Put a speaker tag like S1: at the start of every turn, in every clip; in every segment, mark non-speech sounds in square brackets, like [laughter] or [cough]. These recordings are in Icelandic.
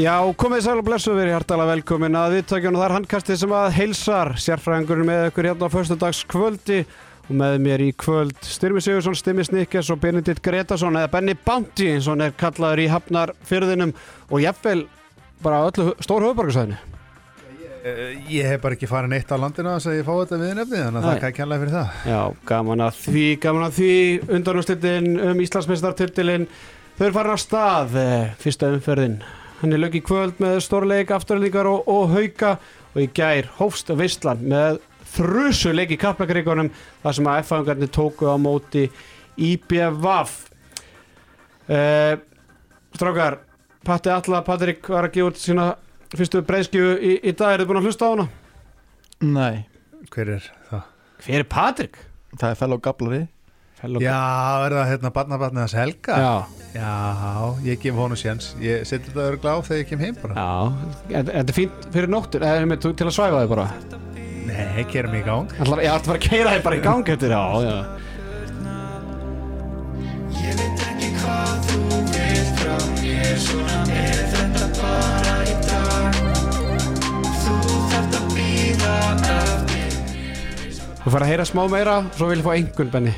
S1: Já, komið sæl og blessu verið hærtalega velkomin að viðtökjun og það er handkastið sem að heilsar sérfræðingurinn með ykkur hérna á föstudagskvöldi og með mér í kvöld Styrmi Sigursson, Stimmi Snikkes og Benedikt Gretarsson eða Benny Bounty eins og hann er kallaður í hafnarfyrðinum og jafnvel bara á öllu stór höfuborgarsæðinu.
S2: Eh, Ég hef bara ekki farin eitt á landina þess að ég fá þetta viðnefni þannig
S1: Nei.
S2: að það er kærlega fyrir það
S1: Já, gaman að því, gaman að því, undanústildin um Íslandsmeistartiltilin, þau eru farin af stað, eh, fyrsta umferðin. Henni lög í kvöld með stórleik, afturlendingar og, og hauka og í gær hófst Vistland með þrusuleik í kaplakreikunum þar sem að F-fangarnir tóku á móti IBVF. Uh, strákar, Patti Alla, Patrik var að gefa út sína fyrstu breyðskjöfu í, í dag, eru þið búin að hlusta á hana?
S3: Nei,
S2: Hver er það?
S1: Hver er Patrik?
S3: það er fellow gablari
S2: Já, er það hérna barnabarnið hans Helga?
S1: Já.
S2: Já, ég gef honum séns Ég seti þetta örgla á þegar ég kem heim bara
S1: Já, þetta þetta er fínt fyrir nóttur eða einmitt þú- til að svæfa þig bara
S2: Nei, kerum mig í gang
S1: Ætlar, Ég ætla bara að keira þig bara í gang eftir Já, já Þú fara að heyra smá meira svo vil ég fá einhvern benni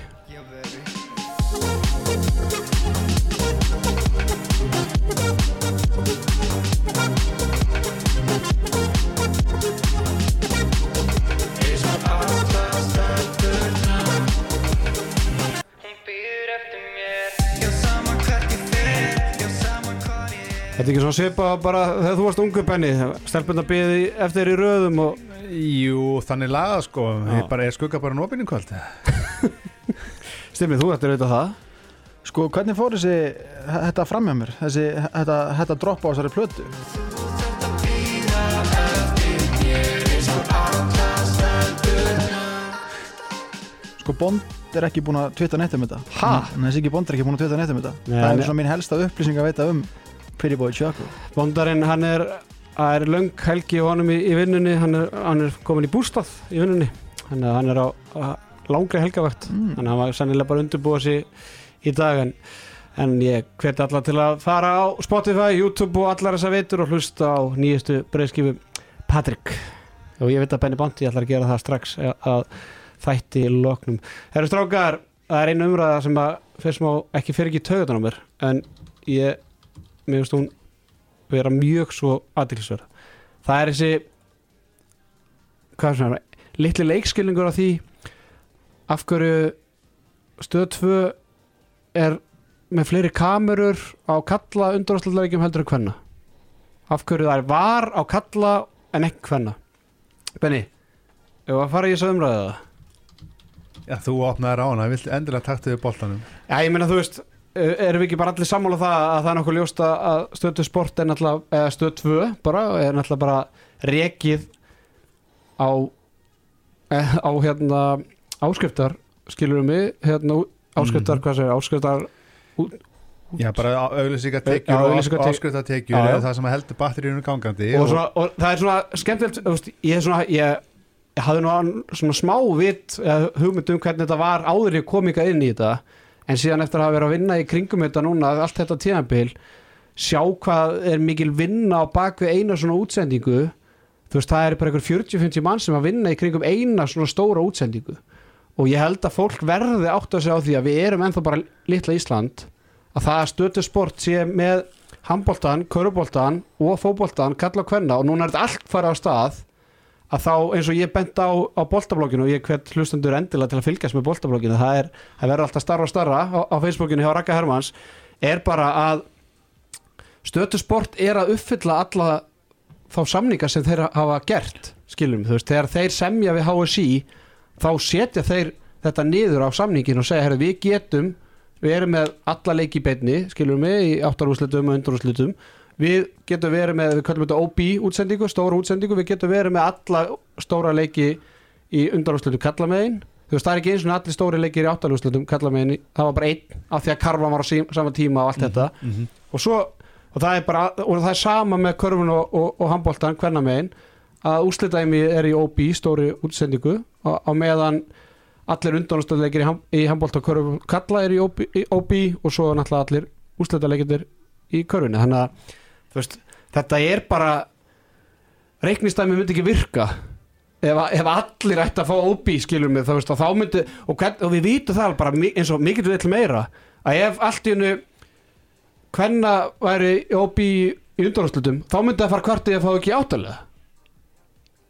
S1: Þetta er ekki svona svipa bara þegar þú varst ungu benni stelpunna byði eftir í röðum og
S2: Jú, þannig laga sko Ég bara er skugga bara nópinni kvöld
S1: Stimmi, þú ættir auðvitað það
S3: Sko, hvernig fór þessi, þetta framjá mér þessi, þetta, þetta dropp á þessari plötu Sko, Bond er ekki búin að tvita neitt um þetta
S1: Ha?
S3: Nei, þessi ekki Bond er ekki búin að tvita neitt um þetta
S1: Nei,
S3: Það
S1: nei.
S3: er svona mín helsta upplýsing að veita um Pretty Boy Choco
S1: Vondarinn, hann er, það er löng helgi og honum í, í vinnunni, hann er, hann er komin í bústað í vinnunni þannig að hann er á, á langri helgavakt
S3: mm.
S1: þannig að hann var sannilega bara að undirbúa sig í dag en, en ég hveti alla til að fara á Spotify, YouTube og allar þessar veitur og hlusta á nýjastu breyðskifu Patrik og ég veit að Benny Bondi ætlar að gera það strax að- að þætti loknum. Herru strákar það er einu umræða sem að fyrir smá ekki fyrir ekki tögutan á mér en ég, mér finnst hún vera mjög svo aðtilsverð það er þessi hvað sem er, litli leikskilningur á því af hverju stöð 2 er með fleiri kamerur á kalla undarúrslutleikjum heldur en hvenna af hverju það er var á kalla en ekki hvenna Benny, ef að fara í þessu umræðu eða?
S2: Já, þú opnaði rána, vilt endilega takta við boltanum
S1: Já, ég meina þú veist eh, erum við ekki bara allir sammála um það að það er nokkuð ljóst að- að stöð 2 sport er náttúrulega eða stöð 2 bara, er náttúrulega bara rekið á eh, á hérna áskriftar, skilurum við hérna ú- áskriftar, hvað segir, áskriftar
S2: Já, bara
S1: Já,
S2: auðlýsingatekjur og
S1: auglýsingatek-
S2: áskriftatekjur
S1: Já, já.
S2: eða það sem heldur batteríunum gangandi
S1: og, svona, og það er svona skemmtilegt þú veist, ég, er svona, ég, ég hafði nú an- svona smá vit eða hugmynd um hvernig þetta var áður en ég kom ykkar inn í þetta en síðan eftir að hafa verið að vinna í kringum þetta núna allt þetta tímabil sjá hvað er mikil vinna á bak við eina svona útsendingu þú veist það er bara einhver 40-50 mann sem að vinna í kringum eina svona stóra útsendingu og ég held að fólk verði átt að segja á því að við erum ennþá bara litla Ísland að það að stötu sport sé með handbóltan, köruboltan og fótboltan kalla og kvenna og núna er þetta allt farið á stað að þá eins og ég bent á, á boltablokkinu og ég hvert hlustendur endilega til að fylgjast með boltablokkinu það er, það verður alltaf starra og starra á, á Facebookinu hjá Raka Hermans er bara að stötusport er að uppfylla alla þá samninga sem þeir hafa gert skilum, þú veist, þegar þeir semja við HSI þá setja þeir þetta niður á samningin og segja, herru, við getum við erum með alla leiki í beinni skilum við, í áttarúslitum og undurúslitum við getum verið með, við kallum þetta OB útsendingu, stóra útsendingu við getum verið með alla stóra leiki í undarúslitum kallamegin þú veist, það er ekki eins og allir stóri leikir í áttarúslitum kallamegin, það var bara einn af því að karvan var á sí- sama tíma og allt þetta
S2: Mhm.
S1: og svo og það er bara og það er sama með körfun og, og, og handbóltan hvernig megin að úrslitaðimi er í OB stóri útsendingu á, á meðan allir undanúrslitaleikir í, ham, í handbólta og körfun kalla er í OB, í OB og svo náttúrulega allir úrslitaðleikindir í körfunni þannig að þú veist þetta er bara reiknistæmi myndi ekki virka ef, að- ef allir ætti að fá OB skilur mig þá, veist, og, þá myndi, og, hvern, og við vítum það bara mi- eins og mikið við ætlum meira að ef allt í hennu hvenna væri OB í undanúrslutum þá myndi það fara kvartið að fá ekki áttalega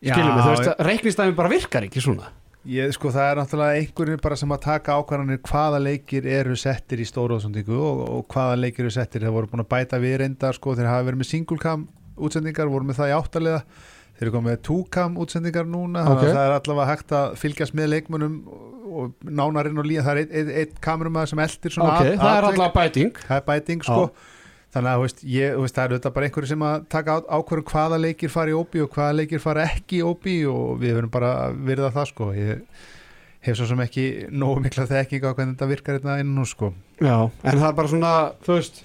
S1: skilur mig, þú veist að reiknistæmi bara virkar ekki svona
S2: Ég, sko, það er náttúrulega einhverjir bara sem að taka ákvarðanir hvaða leikir eru settir í stóruðsundingu og, og hvaða leikir eru settir þeir voru búin að bæta við reynda sko, þeir hafa verið með singulcam útsendingar voru með það í áttalega þeir eru komið með two-cam útsendingar núna
S1: Ok.
S2: þannig að það er allavega hægt að fylgjast með leikmönnum og- og nánarinn og líðan það er einn ein, ein kamerumæður sem eldir svona
S1: ok,
S2: at-
S1: það er
S2: atvik.
S1: alltaf bæting
S2: það er bæting sko þannig að þú veist, ég, þú veist, það eru þetta bara einhverju sem að taka ákvörðum hvaða leikir fara í OB og hvaða leikir fara ekki í OB og við verum bara að virða það sko ég hef svo sem ekki nógu mikla þekking á hvernig þetta virkar hérna inn nú sko
S1: Já, en það er bara svona, þú veist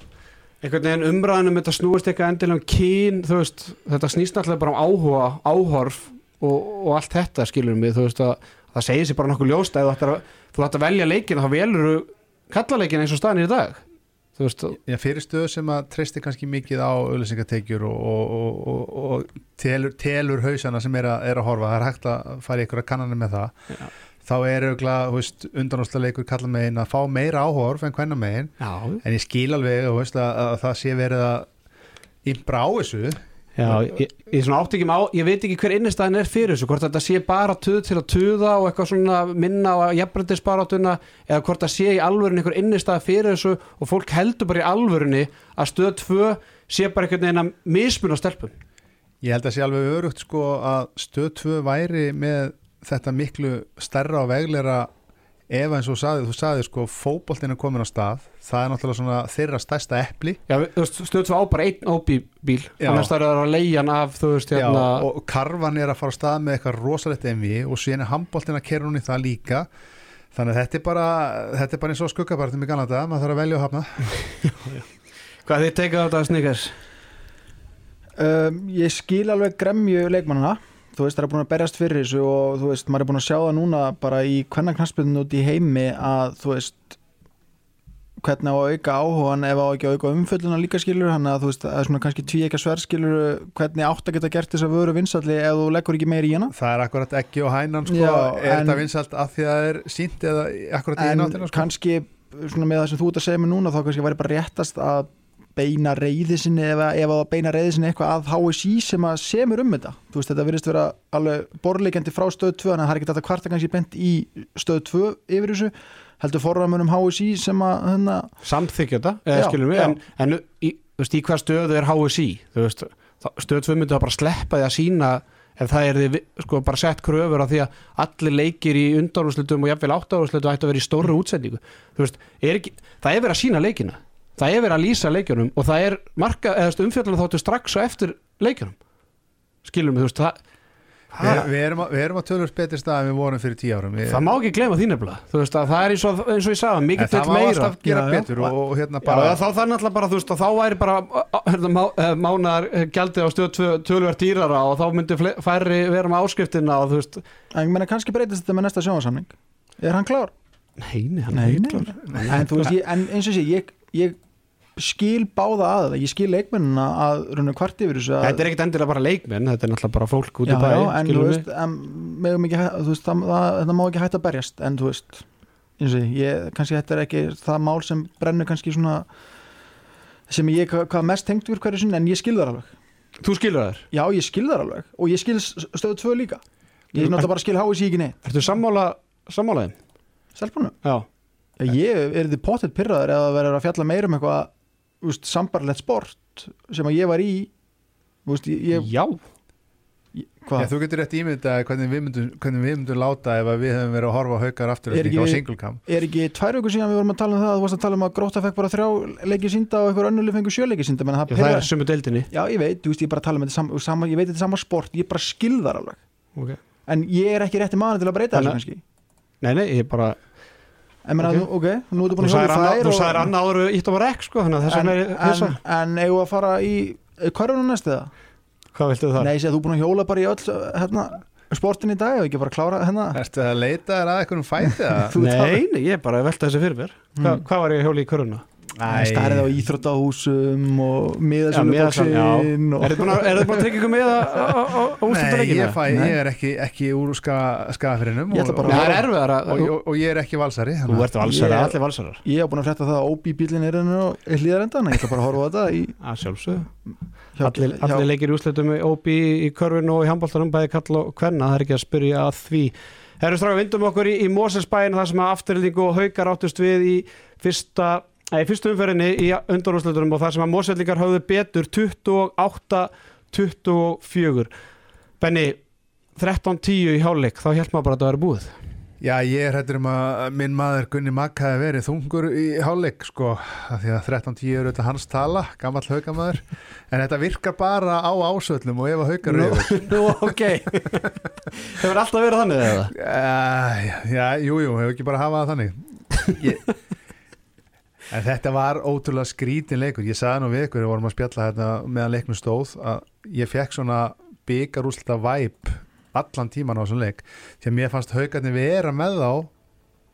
S1: einhvern veginn umræðanum þetta snúist eitthvað endilega um kyn, þú veist þetta snýst alltaf bara um áhuga, áhorf og, og allt þetta skilur mig þú veist að það segir sér bara nokkuð ljóst að þú ætti að, þú ætti að velja leikin þá velur þú kallaleikina eins og staðan er í dag þú veist,
S2: Já, fyrir stöðu sem að treysti kannski mikið á auðlýsingatekjur og, og, og, og, og telur, telur hausana sem er að, er að horfa, það er hægt að fara í einhverja kannanir með það
S1: Já.
S2: þá er auðvitað undanústaleikur kalla megin að fá meira áhorf en hvernig megin
S1: já,
S2: En ég skil alveg þú veist, að, að það sé verið að ímbra á þessu
S1: já ég, ég svona átt ekki má, ég veit ekki hver innistæðin er fyrir þessu, hvort þetta sé bara tuð til að tuða og eitthvað svona minna á jafnbrendisbarátuna eða hvort það sé í alvörinni einhver innistæð fyrir þessu og fólk heldur bara í alvörinni að stöð 2 sé bara einhvern veginn að mismuna stelpum
S2: Ég held að sé alveg örugt sko að stöð 2 væri með þetta miklu stærra og veglera ef eins og þú sagði, þú sagði sko fótboltinn er komin á stað, það er náttúrulega svona þeirra stærsta epli
S1: Já, við- þú veist, stöð 2 á bara einn óbíl
S2: Já.
S1: annars það eru að leiðan af þú veist,
S2: Já,
S1: hérna,
S2: og karvan er að fara á stað með eitthvað rosalegt MV og síðan er handbóltin að kerra hún í það líka þannig að þetta er bara, þetta er bara eins og skuggabartum í Galanda, maður þarf að velja og hafna
S1: hvað þið tekið á þetta sniggars
S3: Um, ég skil alveg gremju leikmannana þú veist það er búin að berjast fyrir þessu og þú veist maður er búin að sjá það núna bara í hvernig knarsbyrðin út í heimi að þú veist hvernig á að auka áhugan ef á ekki að auka umfölluna líka skilur hann að þú veist það er svona kannski tví ekki að sver skilur hvernig átt að geta gert þess að vöru vinsalli ef þú leggur ekki meiri í hana
S2: Það er akkurat ekki og hænan sko,
S3: Já,
S2: er
S3: en-
S2: þetta vinsalt að því að það er sínt eða akkurat í
S3: en
S2: náttina sko?
S3: kannski svona með það sem þú ert að segja mig núna þá kannski væri bara réttast að beina reyði sinni ef, að- ef að beina reyði sinni eitthvað að HSI sem að semur um þetta þú veist þetta virðist vera alveg borleikandi frá stöð 2 en það er ekki þetta kvarta kannski bent í stöð 2 yfir þessu heldur forramunum HSI sem að hérna, hana,
S1: samþykja þetta, eða
S3: Já,
S1: skilum við
S3: já.
S1: en, en í, þú veist, í hvað stöðu er HSI þú veist, þá- stöð 2 myndi það bara sleppa því að sína ef það er því, sko, bara sett kröfur af því að allir leikir í undanúrslutum og jafnvel áttanúrslutum ætti að vera í stórri
S2: Mm.
S1: útsendingu þú veist, er ekki, það er verið að sína leikina það er verið að lýsa leikunum og það er marka, eða umfjöldan þáttu strax og eftir leikunum skilum við, þú veist, það
S2: Við, við, erum að, við erum að tölvöld betri stað en við vorum fyrir tíu árum við,
S1: Það má ekki glema þín nefnilega, þú veist að það er eins og, eins og ég sagði,
S2: En
S1: mikið
S2: það
S1: vill
S2: má
S1: meira
S2: alltaf gera
S3: Já, já.
S2: betur og, og hérna
S1: bara,
S2: bara
S1: já, þá það er náttúrulega bara, þú veist, að þá væri bara uh, hérna, má, eh, mánaðar eh, gjaldið á stöð tvö- töluvert dýrara og þá myndi fle- færri vera með áskriftina og þú veist
S3: en ég menna kannski breytist þetta með næsta sjónvarsamning er hann klár?
S1: Nei, nei, hann
S3: Nei,
S1: er
S3: nei,
S1: heitlur
S3: nei. En, þú veist, ég, en eins og sé, ég, ég skil báða aðeins, ég skil leikmennina að runna kvart yfir þessu að
S1: Þetta er ekkit endilega bara leikmenn, þetta er náttúrulega bara fólk út í
S3: já,
S1: bæ
S3: já, en þú
S1: skilurðu mig?
S3: veist, en, megum ekki, hæ- þú veist það, það, það má ekki hægt að berjast en þú veist, eins og ég, ég, kannski þetta er ekki það mál sem brennur kannski svona sem ég hva- hvað mest tengt við hverju sinni en ég skil þar alveg
S1: Þú skilur þær,
S3: já, ég skil þar alveg og ég skil s- stöðu tvö líka ég er náttúrulega bara að skil háið sér ekki neitt
S1: ertu sammála, sammálaðin?
S3: stelpunum,
S1: Já,
S3: Já, ég er þið potið pyrraður eða verður að fjalla meira um eitthvað þú veist, sambarlegt sport sem að ég var í þú veist, ég, ég,
S1: já
S3: ég,
S2: Já,
S3: hvað
S2: þú getur rétt ímynda hvernig við myndum, hvernig við myndum láta ef að við hefum verið að horfa á haukar aftur
S3: Er ekki
S2: á
S3: við-
S2: singulcam
S3: er ekki tvær vikur síðan við vorum að tala um það að þú varst að tala um að gróta fekk bara þrjá leikið sínda og einhver önnulið fengur sjö leikið sínda menn það
S1: Já, Það
S3: pyrrar
S1: er sumu deildinni
S3: já ég veit, þú veist ég er bara að tala um þetta sama, sama, ég veit þetta er sama sport, ég bara skil þar alveg
S1: okay.
S3: en ég er ekki rétti maður til að breyta þessu
S1: Þannig-
S3: kannski
S1: Nei, nei, ég bara
S3: en menna,
S1: Ok.
S3: okay. ok, nú ertu
S1: Þú
S3: búin að
S1: sagðir
S3: hjóla í
S1: annað-
S3: þær
S1: þú
S3: og-
S1: sagðir annað áru ítt á var ekk, sko, þannig að þess
S3: en,
S1: vegna er ég
S3: en,
S1: hissa.
S3: en eigum við að fara í hverjum næst eða?
S1: Hvað viltu það?
S3: Nei, ég sé að þú er búin að hjóla bara í öll hérna, sportin í dag og ekki bara að klára hérna
S2: Ertu að leita þér að eitthvað um fæti eða?
S1: [laughs]
S3: þú Mm.
S1: nei,
S3: talar-
S1: nei, ég bara velta þessi fyrir mér Hva, Hvað var ég að hjóla í köruna?
S3: starrið á íþróttahúsum og
S1: miðasölu-
S3: miðasöluboksinn og
S1: Er þið búin að- eru þið búin að tryggja ykkur með á
S2: Nei,
S1: úrstöldareikina?
S2: ég, fæ, ég er ekki, ekki úr skafirinnum
S3: Ég
S2: og,
S3: ætla bara
S1: Nei, það er erfiðar
S2: og,
S1: að
S2: og, og ég er ekki valsari
S1: Þú
S2: þannig að-
S1: ert valsarar,
S3: Ég-
S1: allir valsarar
S3: ég hef búin að frétta það að OB bílinn er henni og hlýðarenda, en ég ætla bara að horfa á þetta í,
S1: að sjálfsögðu
S3: hjá,
S1: allir, allir leikir í úslitum í OB í körfinu og í handbóltanum bæði kall og kvenna, það er ekki að spyrja að því Herru stráka, vindum okkur í, í Moselsbæin þar sem að afturlendingu og haukar áttust við í fyrsta Nei, í fyrstu umferðinni í undanúrslitunum og þar sem að Mosellingar höfðu betur 28-24 Benni, 13-10 í hálfleik, þá held maður bara að það væri búið
S2: Já, ég er hættur um að minn maður Gunni Magg hafi verið þungur í hálfleik sko, af því að 13-10 eru þetta hans tala, gammal haugamaður en þetta virkar bara á ásöllum og ef að haugar eru yfir
S1: Nú, ok Hefur alltaf verið þannig eða?
S2: Uh, já, jú, jú, hefur ekki bara hafa það þannig ég, En þetta var ótrúlega skrítin leikur Ég sagði nú við ykkur, við vorum að spjalla hérna meðan leiknum stóð að ég fekk svona byggarúslita væp allan tíman á þessum leik því að mér fannst haugarnir vera með þá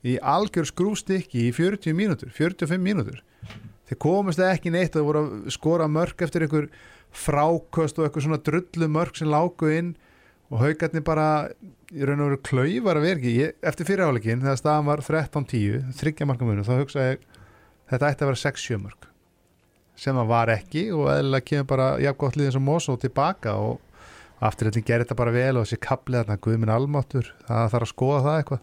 S2: í algjör skrústykki í 40 mínútur, 45 mínútur þeir komist ekki neitt að voru að skora mörg eftir ykkur fráköst og ykkur svona drullu mörg sem lágu inn og haugarnir bara í raun og veru klauvar að vera ekki ég, eftir fyrirháleikin þegar staðan var 13-10 þryggja marka munum, þá hugsaði ég þetta ætti að vera 6-7 mörg sem það var ekki og eðlilega kemur bara jafn gott liðið sem Mosó tilbaka og afturleitin gerir þetta bara vel og þessi kaplið þarna Guðminn Almáttur það þarf að skoða það eitthvað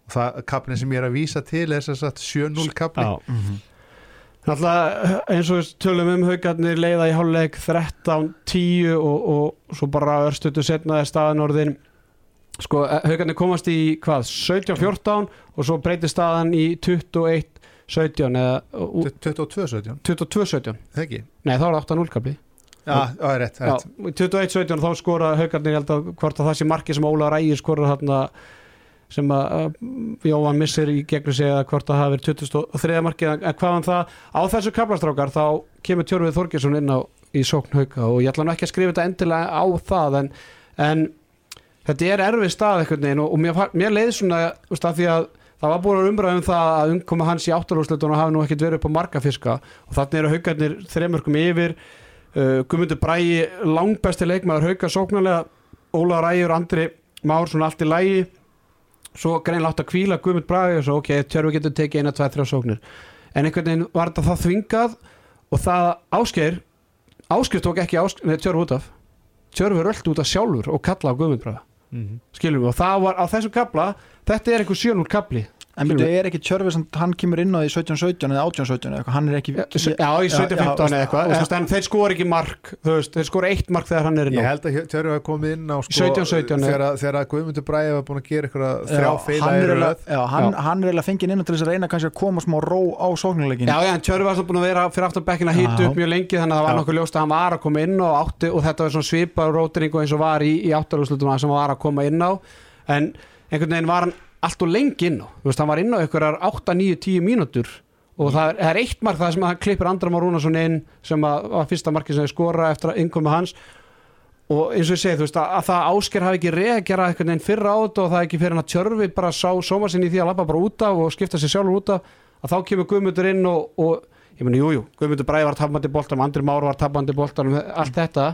S2: og það kaplið sem ég er að vísa til er þess að 7-0 kaplið
S1: Já Náttúrulega eins og við tölum um haugarnir leiða í hálfleik 13, 10 og, og svo bara örstutu setna er staðan orðin sko haugarnir komast í hvað 17, 14 og svo breytir staðan í 21, 17 eða ú-
S2: 22-17,
S1: 22, 17
S2: það ekki?
S1: nei þá er það 8, 0 kapli
S2: Já, það er rétt, það er rétt
S1: 21, 17 þá skora haugarnir ég held að hvort að það sé marki sem Óla Rægir skora þarna sem að uh, Jóhann missir í gegnum sig eða hvort að hafa verið 23 markið en hvað hann það, á þessu kaplastrákar þá kemur Tjörfið Þorgesson inn á í sókn hauka og ég ætla nú ekki að skrifa þetta endilega á það en, en þetta er erfið stað einhvern veginn og, og mér, fa- mér leið svona úst, að því að það var búin að umræða um það að umkoma hans í áttalúsletunum hafi nú ekkert verið upp á markafiska og þannig eru haukarnir þremörkum yfir uh, Guðmundur Bræi langbesti leikmaður hauka sóknarlega Óla Ræjur, Andri Már svona allt í lægi svo greinlátt að kvíla Guðmund Bræi og svo ok, Tjörfi getur tekið eina, tvæ, þrjá sóknir en einhvern veginn var þetta það þvingað og það áskeir áskeir tók ekki áskeir, Tjörfi út af Tjörfi röldi út af sjálfur og kalla á Guðmund Bræi
S2: Mhm.
S1: skilum við og það var á þessum kabla þetta er einhver 7-0 kabli
S3: en byrju, er ekki tjörfið sem hann kemur inn á því 17-17 eða 18-17 eða eitthvað, hann er ekki
S1: já, í 17-15 eða eitthvað
S3: já, já.
S1: og þú veist, en þeir skora ekki mark þú veist, þeir skora eitt mark þegar hann er inn
S2: Ég
S1: á
S2: held að Tjörfi hafi komið inn á sko,
S1: 17-17, nei.
S2: þegar, að- þegar að Guðmundur Bræði var búin að gera eitthvað
S3: Já,
S2: þrjá feila
S3: hann
S2: í
S3: er
S2: röð
S3: eiginlega- já, hann-
S1: Já.
S3: hann er eiginlega fengið inn á til þess að reyna kannski að koma smá ró á sóknuleikin
S1: Já, já, en Tjörfi var svo búin að vera fyrir aftan bekkin að hýta
S3: Já.
S1: upp mjög lengi þannig að það var
S3: Já.
S1: nokkuð ljóst að hann var að koma inn og átti og þetta var svona svipað rótiringu eins og var í, í áttarúslutum sem hann var að koma inn á en einhvern veginn var hann allt og lengi inn á þú veist, hann var inn á einhverjar 8, 9, 10 mínútur og það er, það er eitt mark það sem hann klippir Andra Már Rúnarsson inn sem að, að fyrsta markið sem þau skora eftir að innkomi hans og eins og ég segi, þú veist, að, að það ásker hafi ekki reagerað einhvern veginn fyrra á þetta og það ekki fyrir hann að tjörfi bara sá sóma sinni í því að labba bara út af og skipta sér sjálfur út af að þá kemur Guðmundur inn og, og ég meni, jújú, Guðmundur Bræði var tapandi boltanum, Andri Már var tapandi boltanum allt þetta,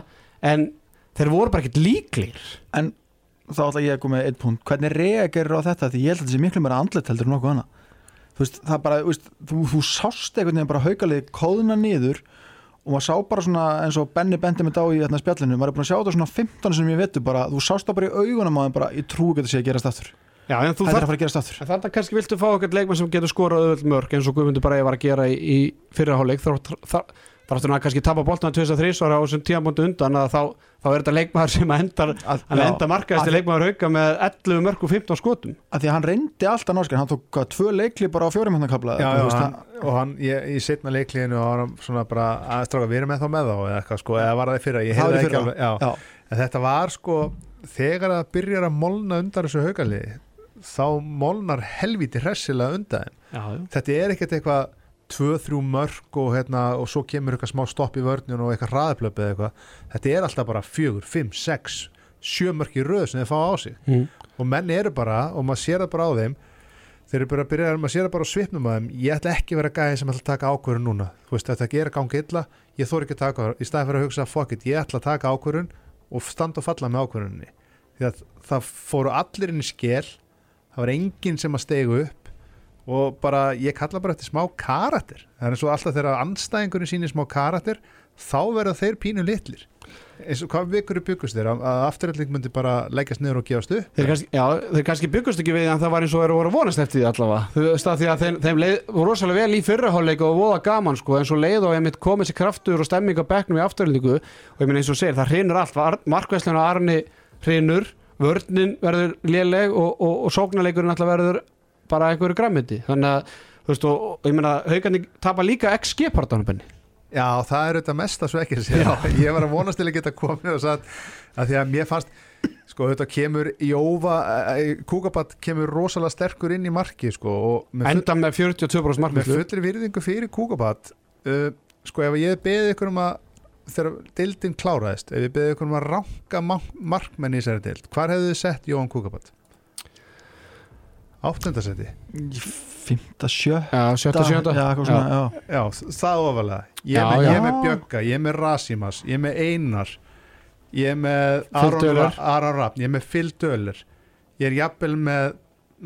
S1: en þeir voru bara ekkert líklir
S3: en þá ætla ég að koma með eitt punkt hvernig reagerir á þetta því ég held að þetta sé miklu meira andlet heldur en nokkuð annað þú veist, það bara, þú, veist, þú, þú sást einhvern veginn bara haukalið kóðuna niður og maður sá bara svona eins og Benni bendi með dá í þarna spjallinu, maður er búin að sjá þetta svona 15 sem ég vetu bara, þú sást það bara í augunum á þeim bara, ég trúi ekki að þetta sé að gerast aftur
S1: Já, en þú
S3: þetta er að
S1: þarf
S3: fara að gerast aftur
S1: En þarna kannski viltu fá eitthvað leikmann sem getur skorað öðvöld mörg eins og Guðmundur bara var að gera í, í fyrirháleik þáttur hann að kannski tapa boltana 2-3 svara á þessum tíamóndu undan að þá, þá er þetta leikmaður sem að endar
S3: að,
S1: hann
S3: já,
S1: enda markaðist í leikmaður hauka með 11 mörg og 15 skotum
S3: að því að hann reyndi alltaf náskar, hann tók hvað, tvö leikli bara á fjórum hérna hann að kabla
S2: já, já, hann, og hann ég, ég setna leikliðinu og hann svona bara að stráka, við erum ennþá með þá eða eitthvað sko, eða var það í fyrra, ég heyrði
S3: Það var í
S2: ekki
S3: fyrra.
S2: alveg já.
S3: já,
S2: en þetta var sko, þegar það byrjar að molna undan þessu haugaliði þá molnar helviti hressilega undan þeim.
S1: Já, já
S2: þetta er ekkert eitthvað tvö, þrjú mörg og, hérna, og svo kemur eitthvað smá stopp í vörnjun og eitthvað hraðaplöp eða eitthvað þetta er alltaf bara fjögur, fimm, sex sjö mörg í röð sem þeir fá á sig
S1: Mm.
S2: og menn eru bara, og maður sér það bara á þeim þeir eru bara að byrja að séra bara á svipnum að þeim ég ætla ekki að vera gæði sem ætla að taka ákvörun núna þú veist, ef þetta gera gangi illa, ég þór ekki að taka ákvörun í staði fyrir að hugsa, fuck it, ég ætla að taka ákvörun og standa og falla með ákvörunni því að það fóru allir inn í skel það var enginn sem að stegu upp og bara, ég kalla bara eftir smá karatir það er svo alltaf þegar anstæðingurinn sýnir smá karatir þá verða þeir pínu litlir eins og hvað vikur byggust þeir að, að afturölding myndi bara leggjast niður og gefast upp
S1: Þeir kannski, já, þeir kannski byggust ekki við en það var eins og þeir voru að vonast eftir því allavega þú veist að því að þeim, þeim leið rosalega vel í fyrraháleika og voða gaman sko en svo leið og einmitt komið sér kraftur og stemming á bekknum í afturlíku og ég meina eins og þú segir það hrinur allt, markvæslinu Arni hrinur, vörnin verður léleg og, og, og sóknarleikurinn allavega verður bara einhverju græmiti þannig að þú veist og, og ég meina haugandi tapa líka XG partanum
S2: Já, það er auðvitað mest að svekja sér [laughs] Ég var að vonast til að geta komið og satt að því að mér fannst sko, auðvitað kemur Jóva Kúkabat eh, kemur rosalega sterkur inn í marki sko, og með,
S1: enda með 42%
S2: full, með
S1: markvæslu
S2: fullri virðingu fyrir Kúkabat uh, sko, ef ég beðið ykkur um að þegar deildin kláraðist ef ég beðið ykkur um að ranka ma- markmenn í þessari deild, hvar hefðu þið sett Jóhann Kúkabat? Áttundasetti
S3: fymta sjö
S1: Já, sjötta, sjötta
S3: já, eitthvað svona, já.
S2: Já, það ofalega Ég
S1: Já,
S2: er með,
S1: já.
S2: ég er með Bjögga, ég er með Rasimas Ég er með Einar Ég er með
S1: Döler.
S2: Aron Ra- Aron Rafn Ég er með Phil Döler Ég er jafnvel með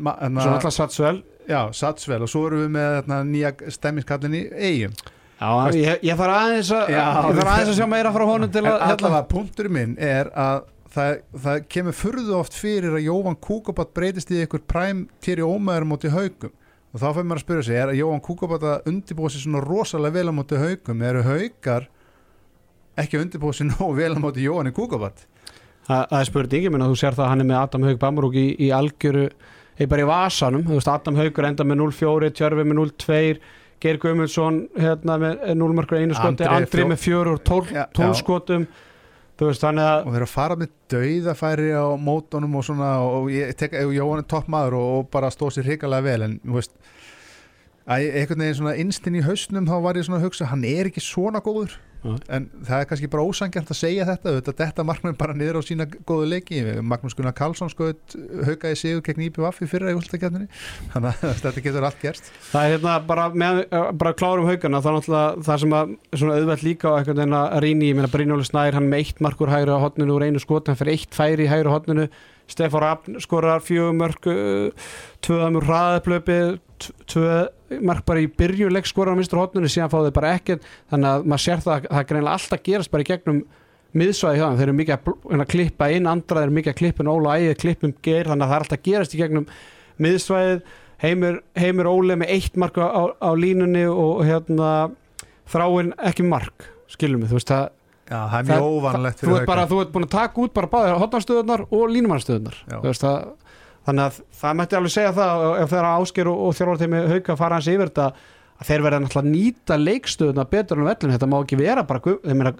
S2: ma- hana-
S1: Svo alltaf satsvel
S2: Já, Satsvel og svo erum við með hana, nýja stemmingskallinni Eyjum
S1: Já, ég, ég þarf aðeins að
S2: Já,
S1: ég þarf aðeins að sjá meira frá honum til
S2: En
S1: að hérna-
S2: allavega punktur minn er að það, það kemur furðu oft fyrir að Jóvan Kúkabat breytist í einhver præm týri ómaður móti haugum og þá fyrir maður að spyrja sig, er að Jóvan Kúkabat að undirbúa sér svona rosalega vel á móti haugum eru haugar ekki að undirbúa sér nóg vel á móti Jóvan Kúkabat
S1: Það það er spurning, ég meina þú sér það að hann er með Adam Haug Bamrúk í, í algjöru eða bara í vasanum, þú veist Adam Haugur enda með 0-4, Tjörfi með 0-2 Geir Guðmundsson hérna með 0 mörgur einu skoti,
S2: Andri er
S1: Andri
S2: fjó-
S1: með 4 og 12,
S2: Já,
S1: 12
S2: já.
S1: skotum þú veist þannig að
S2: og þeir eru að fara með dauðafæri á mótunum og svona og ég tek að Jóhann er topp maður og, og bara stóð sér hrikalega vel en þú veist að einhvern veginn svona innstinn í hausnum þá var ég svona að hugsa hann er ekki svona góður
S1: Nei.
S2: en það er kannski bara ósangjant að segja þetta þetta, þetta markmenn bara niður á sína góðu leiki Magnús Gunnar Karlsson skoðið haukaði sigur gegn IPVF í fyrra í úlstakjarninni þannig að [laughs] þetta getur allt gerst
S1: Það er hérna bara, með, eh, bara klárum haugana þá náttúrulega það sem að svona auðvelt líka á einhvern veginn að rýni, ég meina Brynjóli Snær hann er með eitt markur hægri á hotninu úr einu skot hann fyrir eitt færi í hægri á hotninu Stefán Rafn skorar eh, fjögum mörg tvöðum úr hraðaplöpi tvö mark bara í byrjuleik skorar á minnstur hotninu, síðan fá þau bara ekkert þannig að maður sér það, það er greinilega alltaf gerast bara í gegnum miðsvæði hjá þeim, þeir eru mikið að bl- hérna, klippa inn, andra þeir eru mikið að klippa inn Óla ægið, klippum geir, þannig að það er alltaf að gerast í gegnum miðsvæðið Heimir, Heimir Óli með eitt mark á, á línunni og hérna þráin ekki mark skilum við, þú veist það,
S2: Já, það er
S1: það-
S2: mjög óvanlegt
S1: þú
S2: fyrir
S1: ert bara,
S2: hauka
S1: þú ert búin að taka út bara báðir hotnarstöðunar og línumannstöðunar
S2: Já.
S1: þú veist það, þannig að það mætti alveg segja það ef þeirra ásker og, og þjálfur þeim hauka fara hans yfir þetta að þeir verða náttúrulega að nýta leikstöðuna betur en vellin, þetta má ekki vera bara, Guð- ég meina,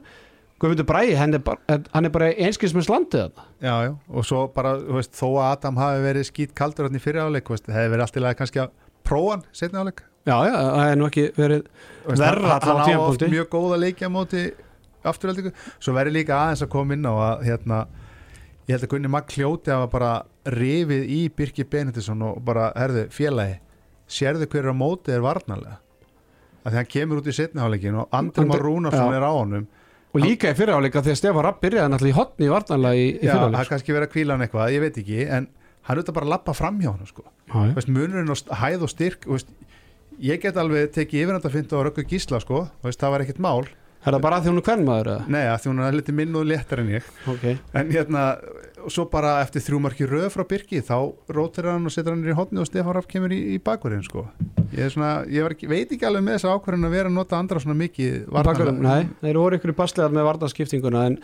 S1: Guðmundur Bræði hann er bara, hann er bara einskilsmins landið þarna.
S2: Já, já, og svo bara, þú veist, þó að Adam hafi verið skýt kaldur hann í fyrra áleik, þú veist, það hefði verið allt í lagi kannski að prófa hann setna áleik
S1: já, já, það er nú ekki verið
S2: Þú veist,
S1: Verra
S2: hann-
S1: allan á
S2: Hann á oft
S1: tímapunkti.
S2: mjög góða leikja móti afturöldingu, svo verður líka aðeins að koma inn á að, hérna, ég held að Gunni Magg hljóti að bara rifið í Birki Benedisson og bara, herðu, félagi, sérðu hverju á móti er varnarlega að því hann kemur út í setna áleikin og Andri
S1: Andri-
S2: Már Rúnarsson
S1: já.
S2: er á honum
S1: og líka í fyrirháleika þegar Stefán Rapp byrjaði náttúrulega í hotni í varnarlega í, sko. í
S2: Já, það er
S1: fyrirháleika
S2: kannski verið að kvíla hann eitthvað, ég veit ekki en hann er auðvitað bara að lappa fram hjá hann sko. Þú veist, munurinn og hæð og styrk þú veist, ég get alveg tekið yfirnættafindu á Röggu Gísla sko, þú veist, það var ekkert mál
S1: er það bara af því hún er hvern maður eða?
S2: Nei, að því hún er litið minn og léttar en ég
S1: Okay.
S2: en hérna, og svo bara eftir þrjúmarki röð frá Birki, þá rótir hann og setur hann niður í hotni og Stefán Raff kemur í, í bakverðin sko. ég, er svona, ég var ekki, veit ekki alveg með þessa ákvörðin að vera að nota andra svona mikið
S1: Bakurum,
S2: varnarlega.
S1: nei, þeir voru ykkur í baslegar með varnarskiptinguna en,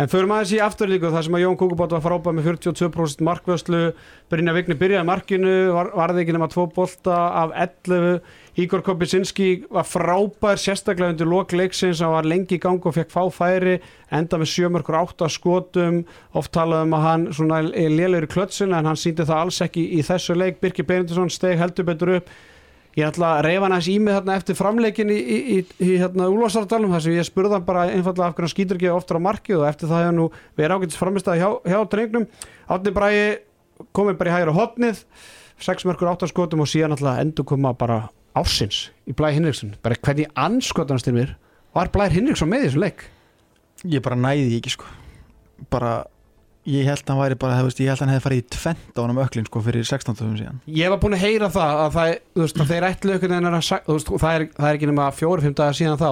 S1: en förum aðeins í afturlíku þar sem að Jón Kúkubátt var frábæð með 42% markvöslu Brynja Vigni byrjaði í markinu var, varði ekki nema tvo bolta af 11 Ígor Kopisinski var frábær sérstaklega undir lokleiksins hann var lengi í gang og fekk fá færi enda með sjömörkur átta skotum oft talaði um að hann svona er lélegur í klötsin en hann síndi það alls ekki í þessu leik Birkir Benedinsson steg heldur betur upp Ég ætla að reyfa hann aðeins í mig þarna eftir framleikin í, í, í, í hérna Úlfarsardalum þar sem ég spurði hann bara einfallega af hvernig hann skýtur ekki oftar á markið og eftir það hefur nú verið ágætis framistæði hjá, hjá drengnum. Átni Bræi komið bara í hægra hotnið sex mörgur áttaskotum og síðan alltaf endur koma bara ársins í Blæði Hinriksson bara hvernig anskotanast til mér var Blæði Hinriksson með í þessum leik
S3: Ég bara næði því ekki sko bara, ég held að hann væri bara þú veist, ég held að hann hefði farið í tvent á hann um öklin sko fyrir 16 töfum síðan
S1: ég var búin að heyra það að, það, þú veist, að þeir ætlu einhvern veginn að sa- þú veist, og það, er, það er ekki nema fjóru-fimm dagar síðan þá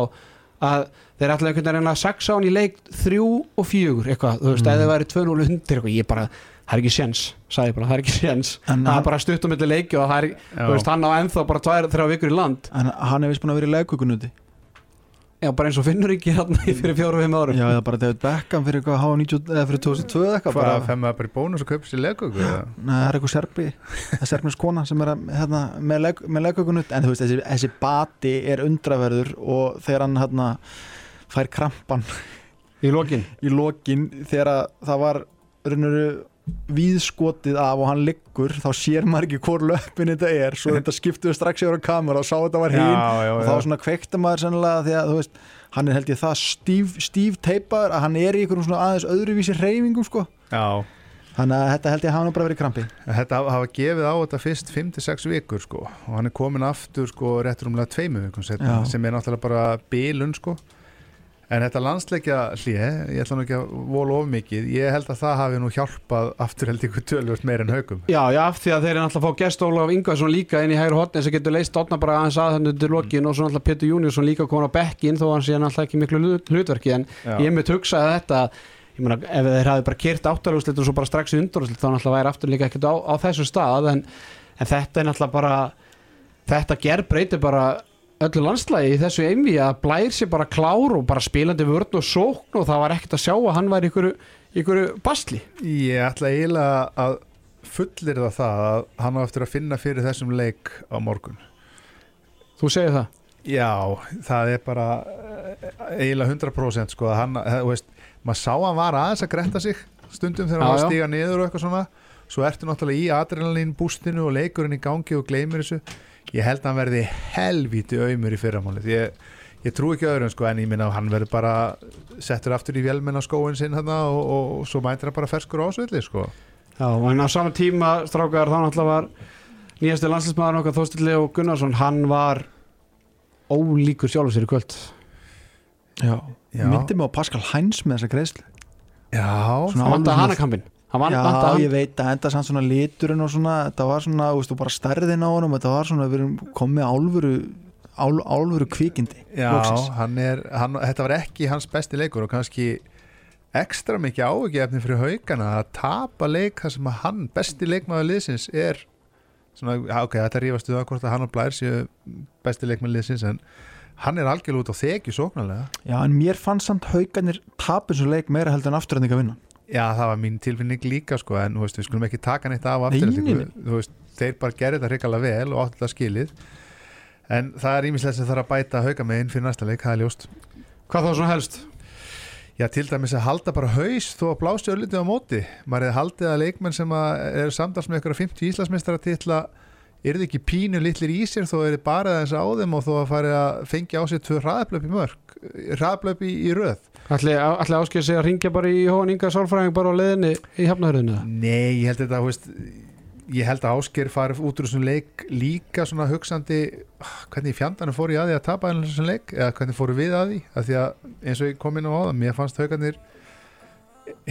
S1: að þeir ætlu einhvern veginn að saxa hann í leik þrjú og fjögur eitthvað, þú veist,
S3: Mm.
S1: mm. eða það væri 2-0 undir eitthvað, ég bara, það er ekki séns sagði ég bara, það er ekki séns
S3: en
S1: það er
S3: hann,
S1: bara stutt á milli leiki og það er, þú veist, hann á ennþá bara tvær, þrjá vikur í land
S3: en hann hefði búin að vera í legkökun úti
S1: já, bara eins og finnur ekki hann fyrir fjóru-fimm árum
S3: Já, eða bara David Beckham fyrir eitthvað H90 eða fyrir 2002 eða eitthvað
S2: Hvað,
S3: bara,
S2: fem maður bara í bónus og kaupir sér legköku? eða?
S3: Nei, það er eitthvað serbi, það er serbnus kona sem er að, hérna, með, leg, með legkökunut en þú veist, þessi, þessi bati er undraverður og þegar hann hérna, fær krampan
S1: í lokin
S3: í lokin þegar að það var raunveru víðskotið af og hann liggur þá sér maður ekki hvort löppin þetta er svo þetta skiptuðu strax yfir á kamera og sá þetta var hinn
S2: já,
S3: og
S2: já.
S3: þá svona kveikta maður sennilega því að þú veist, hann er held ég það stíf, stíf teipaður að hann er í einhverjum svona aðeins öðruvísi reyfingum sko
S2: já.
S3: þannig að þetta held ég hafa nú bara verið krampi
S2: Þetta hafa- hafa gefið á þetta fyrst 5-6 vikur sko og hann er komin aftur sko rétt rúmlega tveimu vikum setna
S3: Já.
S2: sem er náttúrulega bara bilun sko en þetta landsleikja hlje, ég ætla nú ekki að vola of mikið, ég held að það hafi nú hjálpað aftur held ykkur tölvöld meir en haugum
S1: já, já, af því að þeir eru alltaf að fá gest Ólaf Ingvarsson líka inn í hægur hotni sem getur leist átna bara aðeins að hann undir lokin og svo alltaf Petur Júniusson líka komin á bekkin þó hann sé hann alltaf ekki í miklu hlut- hlutverki en ég mitt hugsaði þetta ég meina, ef þeir hafi bara kert áttarúslit og svo bara strax í undurúslit þá náttúrulega væri aftur líka ekkert á, á þessum stað en, en þetta er náttúrulega bara þetta gerð breytir bara öllu landslægi í þessu einví að blær sér bara klár og bara spilandi vörn og sókn og það var ekkert að sjá að hann væri ykkur, ykkur basli
S2: Ég ætla eiginlega að fullir það það að hann á eftir að finna fyrir þessum leik á morgun
S1: þú segir það
S2: Já, það er bara eh, eiginlega 100% sko að hann, eh, þú veist, maður sá að hann var aðeins að gretta sig stundum þegar
S1: Já,
S2: hann var
S1: já.
S2: að stíga niður og eitthvað svona svo ertu náttúrulega í adrenalín bústinu og leikurinn í gangi og gleymir þessu ég held að hann verði helvíti auðmur í fyrramálið ég, ég trú ekki öðrum sko en ég minna að hann verður bara settur aftur í vélmenn á skóin sinn hann og, og, og svo mætir hann bara ferskur ásvelli sko
S1: Já, en á sama tíma strákar þá náttúrulega var nýjasti landslæsmaður okkar Þóstilli og Gunnarsson hann var ólíkur sjálfur sér í kvöld
S3: Já,
S2: Já.
S3: myndi mig á Pascal Heinz með þessa greiðslu
S2: Já,
S3: Svona
S1: hann vandaði
S3: alveg
S1: hana kampin hann
S3: Já,
S1: vandaði hann
S3: ég veit að enda samt svona liturinn og svona, þetta var svona, þú veist, og bara stærðin á honum, þetta var svona, við erum komið álfuru, ál, álfuru kvikindi
S2: Já,
S3: loksins.
S2: hann er, hann, þetta var ekki hans besti leikur og kannski ekstra mikið áhugjefni fyrir haugana að tapa leik þar sem að hann, besti leikmaður liðsins er svona, já, ok, þetta rífast við að hvort að hann og Blær séu besti leikmaður liðsins en hann er algjörlega út á þekju sóknarlega
S3: Já, en mér fannst samt haugarnir tapin svo leik meira heldur en afturhendinga vinna
S2: Já, það var mín tilfinning líka sko en þú veist, við skulum ekki taka neitt af
S3: Nei,
S2: aftur
S3: nei, nei.
S2: þú veist, þeir bara gerir þetta hrikalega vel og áttu þetta skilið en það er ímislega sem þarf að bæta hauga með inn fyrir næsta leik, það er ljóst
S1: Hvað þá svona helst?
S2: Já, til dæmis að halda bara haus þó að blási öllitið á móti. Maður hefði haldið að leikmenn sem að eru samtals með ykkur 50 íslasmestara til að er þið ekki pínu litlir í sér þó er þið bara þess á þeim og þó að fara að fengja á sér tvö hraðablöp í mörg, hraðablöp í, í röð.
S1: Ætli, ætli áskil sig að ringja bara í hóðan Inga Sálfræðing bara á leiðinni í hefnahörðinu
S2: Nei, ég held þetta, þú veist, ég held að Ásker farið út úr þessum leik líka svona hugsandi ah, hvernig í fjandanum fór ég að því að tapa þessum leik eða hvernig fóru við að því að því að eins og ég kom inn á áðan, mér fannst haugarnir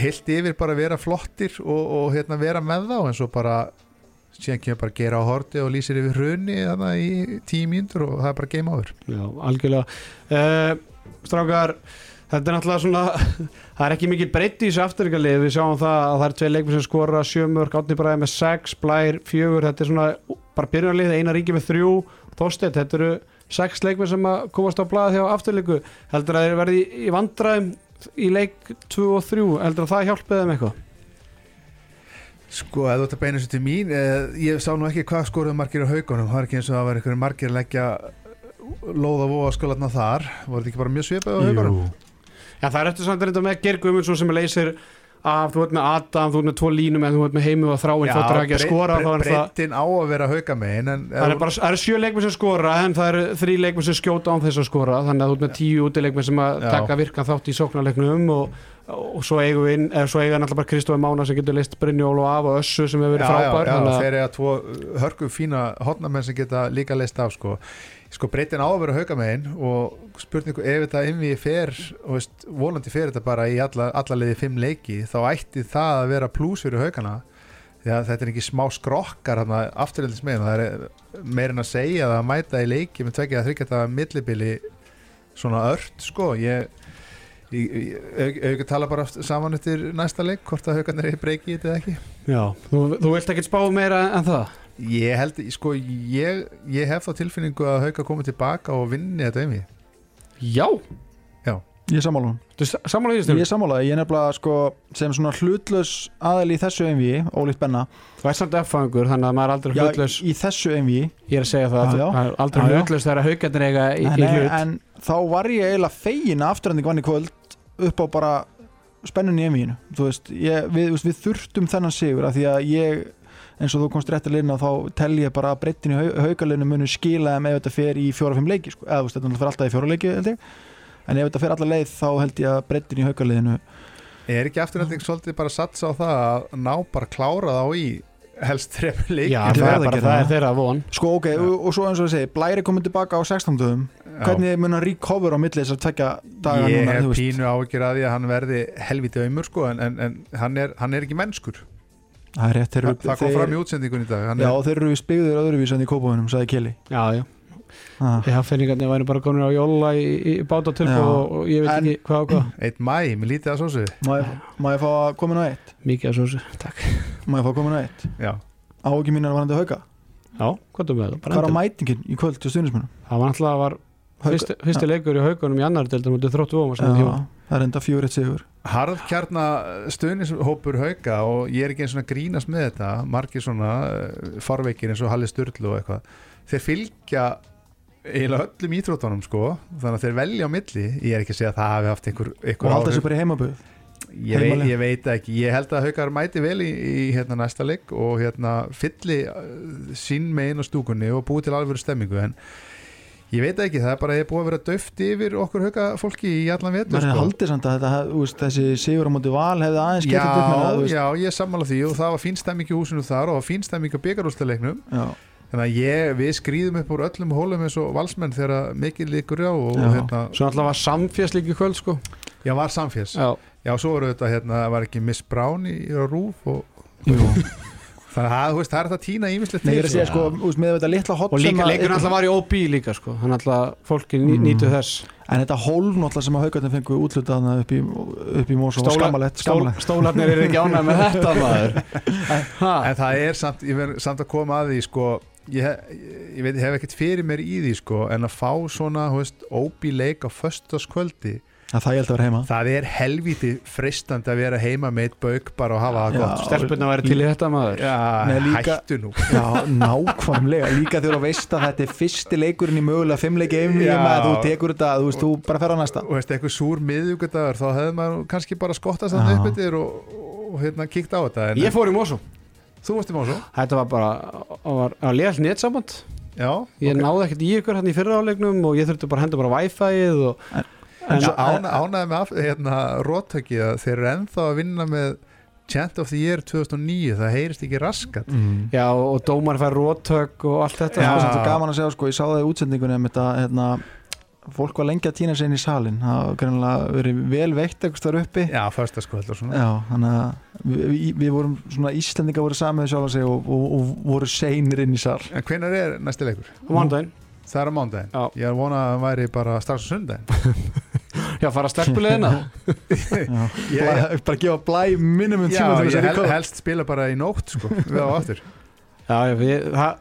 S2: heilt yfir bara vera flottir og, og hérna vera með þá en svo bara síðan kemur bara að gera á horti og lýsir yfir hrunni þannig í tíu mínútur og það er bara game over
S1: Já, algjörlega uh, Strákar, þetta er náttúrulega svona [laughs] það er ekki mikið breytt í þessu afturringalið við sjáum það að það er tvei leikmenn sem skora sjömörk, átni bræði með sex, blær, fjögur þetta er svona bara byrjunarlið, eina ringi með þrjú þóstett, þetta eru sex leikmenn sem að komast á blaði hjá afturleiku heldur að þeir verði í vandræðum í leik 2 og 3 heldur að það hjálpiði þeim eitthvað
S2: Sko, ef þú ert að beina þessu til mín eh, ég sá nú ekki hvað skoruðu margir á haugunum það er ekki eins og það var einhverjum margir að leggja lóða vóa skolarna þar voru þetta ekki bara mjög svipað á haugunum?
S1: Já, það er eftir samt reynda með Geir Guðmundsson sem leysir af, þú veit með Adam, þú veit með tvo línum en þú veit með heimu og þráin, þóttur ekki að skora þá er það
S2: breyttin á að vera hauga megin en
S1: Það eru bara það eru sjö leikmenn sem skora en það eru þrý leikmenn sem skjóta án þess að skora þannig að þú ert með tíu útileikmenn sem að
S2: Já.
S1: taka virkan þátt í sóknarleiknum og og svo eigum við inn, eða svo eigum við náttúrulega bara Kristofi Mána sem getur list Brynjól og Af og Össu sem hefur verið frábær
S2: já, já,
S1: þannig að-
S2: þeir eru að tvo hörku fína hotnamenn sem geta líka leist af sko, sko breytin á að vera haukamegin og spurningu ef þetta ymmi fer, og veist, volandi fer þetta bara í alla, alla leiði fimm leiki þá ætti það að vera plús fyrir haukana því að þetta er ekki smá skrokkar hann að afturhildismegin það er meirinn að segja að mæta í leiki með tvekja að þryggja þetta millibili svona ört sko, ég Ég, ég, ég, ég, ég, ég tala bara saman eftir næsta leik hvort að haukarnir er breykið þetta eða ekki
S1: já, þú, þú vilt ekki spá meira en það
S2: Ég held, sko, ég, ég hef þá tilfinningu að Hauka komið tilbaka og vinni þetta um
S1: já,
S3: Ég er sammála hún
S1: þú sammála því
S3: Ég
S1: stjórn
S3: er sammála, ég er nefnilega sko sem svona hlutlaus aðal í þessu einví ólíkt benna,
S1: þú ert samt F-fangur þannig að maður er aldrei
S3: já,
S1: hlutlaus
S3: í þessu einví
S1: ég er að segja það,
S3: Já, já.
S1: það er aldrei
S3: Já, já.
S1: hlutlaus þegar haugarnir eiga í,
S3: en,
S1: í hlut
S3: en þá var ég eiginlega fegin að afturhending vann í kvöld upp á bara spennun í einvíinu þú veist, ég, við, þú veist, við þurftum þennan sigur af því að ég eins og þú komst rétt að linna þá tel ég bara að breytin í hau, haukalinu munu skila þeim ef þetta fer í fjóra-fimm leiki sko. eða þú veist, þetta fyrir alltaf í fjóra leiki held ég en ef þetta fer alla leið þá held ég að breytin í haukaliðinu
S2: Er ekki afturhalding svolítið bara að satsa á það að ná bara að klára þá í helst þrejum leik
S1: já,
S3: Ég
S1: það
S3: verð
S1: er
S3: að
S1: bara
S3: gera
S1: það
S3: það.
S1: er þeirra von
S3: sko ok, og, og svo eins og ég segi, Blæri komið tilbaka á 16 dögum, hvernig mun hann recover á milli þessar tvekja daga
S2: Ég
S3: núna
S2: hef
S3: þú veist?
S2: pínu ágjur að því að hann verði helviti ömur sko en, en, en hann, er, hann er ekki mennskur
S3: það er rétt, þeir,
S2: Þa,
S3: eru-
S2: Það kom fram í útsendingun í dag hann
S3: Já,
S2: er,
S3: þeir eru við spigður öðruvísan í kópaðunum, sagði Kelly
S1: já, já,
S3: ah.
S1: já finningarnir væri bara komin á jóla í, í bátatilbú
S3: Já.
S1: og, og ég veit
S3: En-
S1: ekki hvað og hvað
S2: Eitt mæ, mér lítið að svo sig
S3: má, ég- má ég fá að koma inn á eitt?
S1: mikið að svo takk
S3: Má ég fá að koma inn á eitt?
S2: Já,
S3: Á ekki mínar varandi hauka
S1: já, hvað þú með það, bara
S3: Hvað er á
S1: endilega.
S3: mætingin í kvöld til stuðnismunum?
S1: það var náttúrulega var fyrsti, fyrsti leikur í haugunum í annar deildum og þú þróttu vóma sem því
S3: Það er enda fjóri eitt sigur
S2: Harðkjarnastuðnishópur hauka og ég er ekki eins og að grínast með þetta margir svona eh, farveikir eins og Halli Sturlu og eitthvað þeir fylgja eiginlega öllum ítrótunum sko þannig að þeir velja á milli ég er ekki að segja að það hafi haft einhver,
S3: Og
S2: einhver
S3: halda
S2: áhrif.
S3: þessu bara í heimaböð
S2: ég, veit,
S3: heimaleg.
S2: ég veit ekki, ég held að haukar mæti vel í, í hérna, næsta leik og hérna, fylli eh, sín megin á stúkunni og búi til alveg stemmingu en ég veit ekki, það er bara að ég er búið að vera döft yfir okkur hauka fólki í allan vetur
S3: Verður sko. haldið samt að þetta, hef- þú veist, þessi sigur á móti val hefði aðeins getið upp með
S2: já,
S3: það þú veist.
S2: já, ég er sammála því og það var fín stemming í húsinu þar og fín stemming á byggarústaleiknum
S3: Já.
S2: þannig að ég, við skrýðum upp úr öllum hólum eins og valsmenn þegar að mikið líkur já og
S3: Já.
S2: hérna,
S1: svo náttúrulega var samfjast líka í kvöld sko
S2: já var samfés já,
S1: já,
S2: svo voru þetta hérna, var ekki Miss Brown í, í rúf og
S3: Jú.
S2: þannig að þú veist, það er þetta að týna ímislegt
S3: Nei, ég er að segja
S1: Já.
S3: sko, þú veist, með þetta litla hot
S1: og
S3: sem
S1: líka
S3: að-
S1: leikur náttúrulega var í OB líka sko þannig að náttúrulega fólki ný,
S3: Mm.
S1: nýtu þess
S3: En þetta hólf náttúrulega sem að haugarnir fengu útlutað þarna upp í, upp í Mosó var
S1: Stóla-
S3: skammalegt, skammalegt.
S1: stólarnir eru ekki ánægð með
S2: [laughs]
S1: þetta maður ha,
S2: en það er samt, ég verð samt að koma að því sko, ég, ég, veit, ég hef ekkert fyrir mér í því sko, en að fá svona þú veist, óbí leik á föstaskvöldi
S3: Já, það ég held að vera heima
S2: það er helviti fristandi að vera heima með eitt bauk bara og hafa það
S3: Já.
S2: gott sko.
S1: stelpunna væri til í þetta maður
S2: Já,
S3: Nei, líka-
S2: hættu nú
S3: Já, nákvæmlega, líka þegar þú veist að þetta er fyrsti leikurinn í mögulega fimmleiki einvíum
S2: Já.
S3: að þú tekur þetta, þú veist, þú bara fer á næsta
S2: og veist, eitthvað súr miðugudagur þá hefði maður kannski bara skottast
S3: Já.
S2: þannig upp yfir og, og hérna kíkt á þetta en
S1: ég fór í Mosó
S2: þú varst í Mosó
S1: þetta var bara það var að lega allir neitt saman
S2: já,
S1: ég
S2: ok.
S1: náði ekkert í ykkur hann í fyrra álegnum og ég þurfti bara að henda bara Wi-Fi-ið og
S2: En
S1: en,
S2: svo ána, ánaði með af, hérna, róttöki að þeir eru ennþá að vinna með Chant of the Year 2009 það heyrist ekki raskat
S3: mm.
S1: já, og dómar fær róttök og allt þetta
S3: Það
S2: Já.
S3: var svolítið gaman að segja, sko, ég sá það í útsendingunni um þetta, hérna, fólk var lengi að týna sér inn í salin, það var greinlega verið vel veikt eitthvað þar uppi
S2: já, förstaskvöld og svona
S3: Já, þannig að við, við- við vorum svona Íslendinga voru samið sjálf að segja og, og, og voru seinir inn í
S2: [laughs]
S3: sal
S2: en hvenar er næsti leikur?
S1: og mándaginn
S2: það er á mándaginn
S1: Já.
S2: ég er að vona að það væri bara strax á sundaginn
S1: já, fara stelpulegina
S3: Já,
S2: Ég-
S3: bara, bara gefa blæ minimum
S2: já,
S3: tíma til þess
S2: ég
S3: að
S2: hel,
S3: recover.
S2: helst spila bara í nótt sko, við á aftur
S1: [laughs] Já, já, ég, það,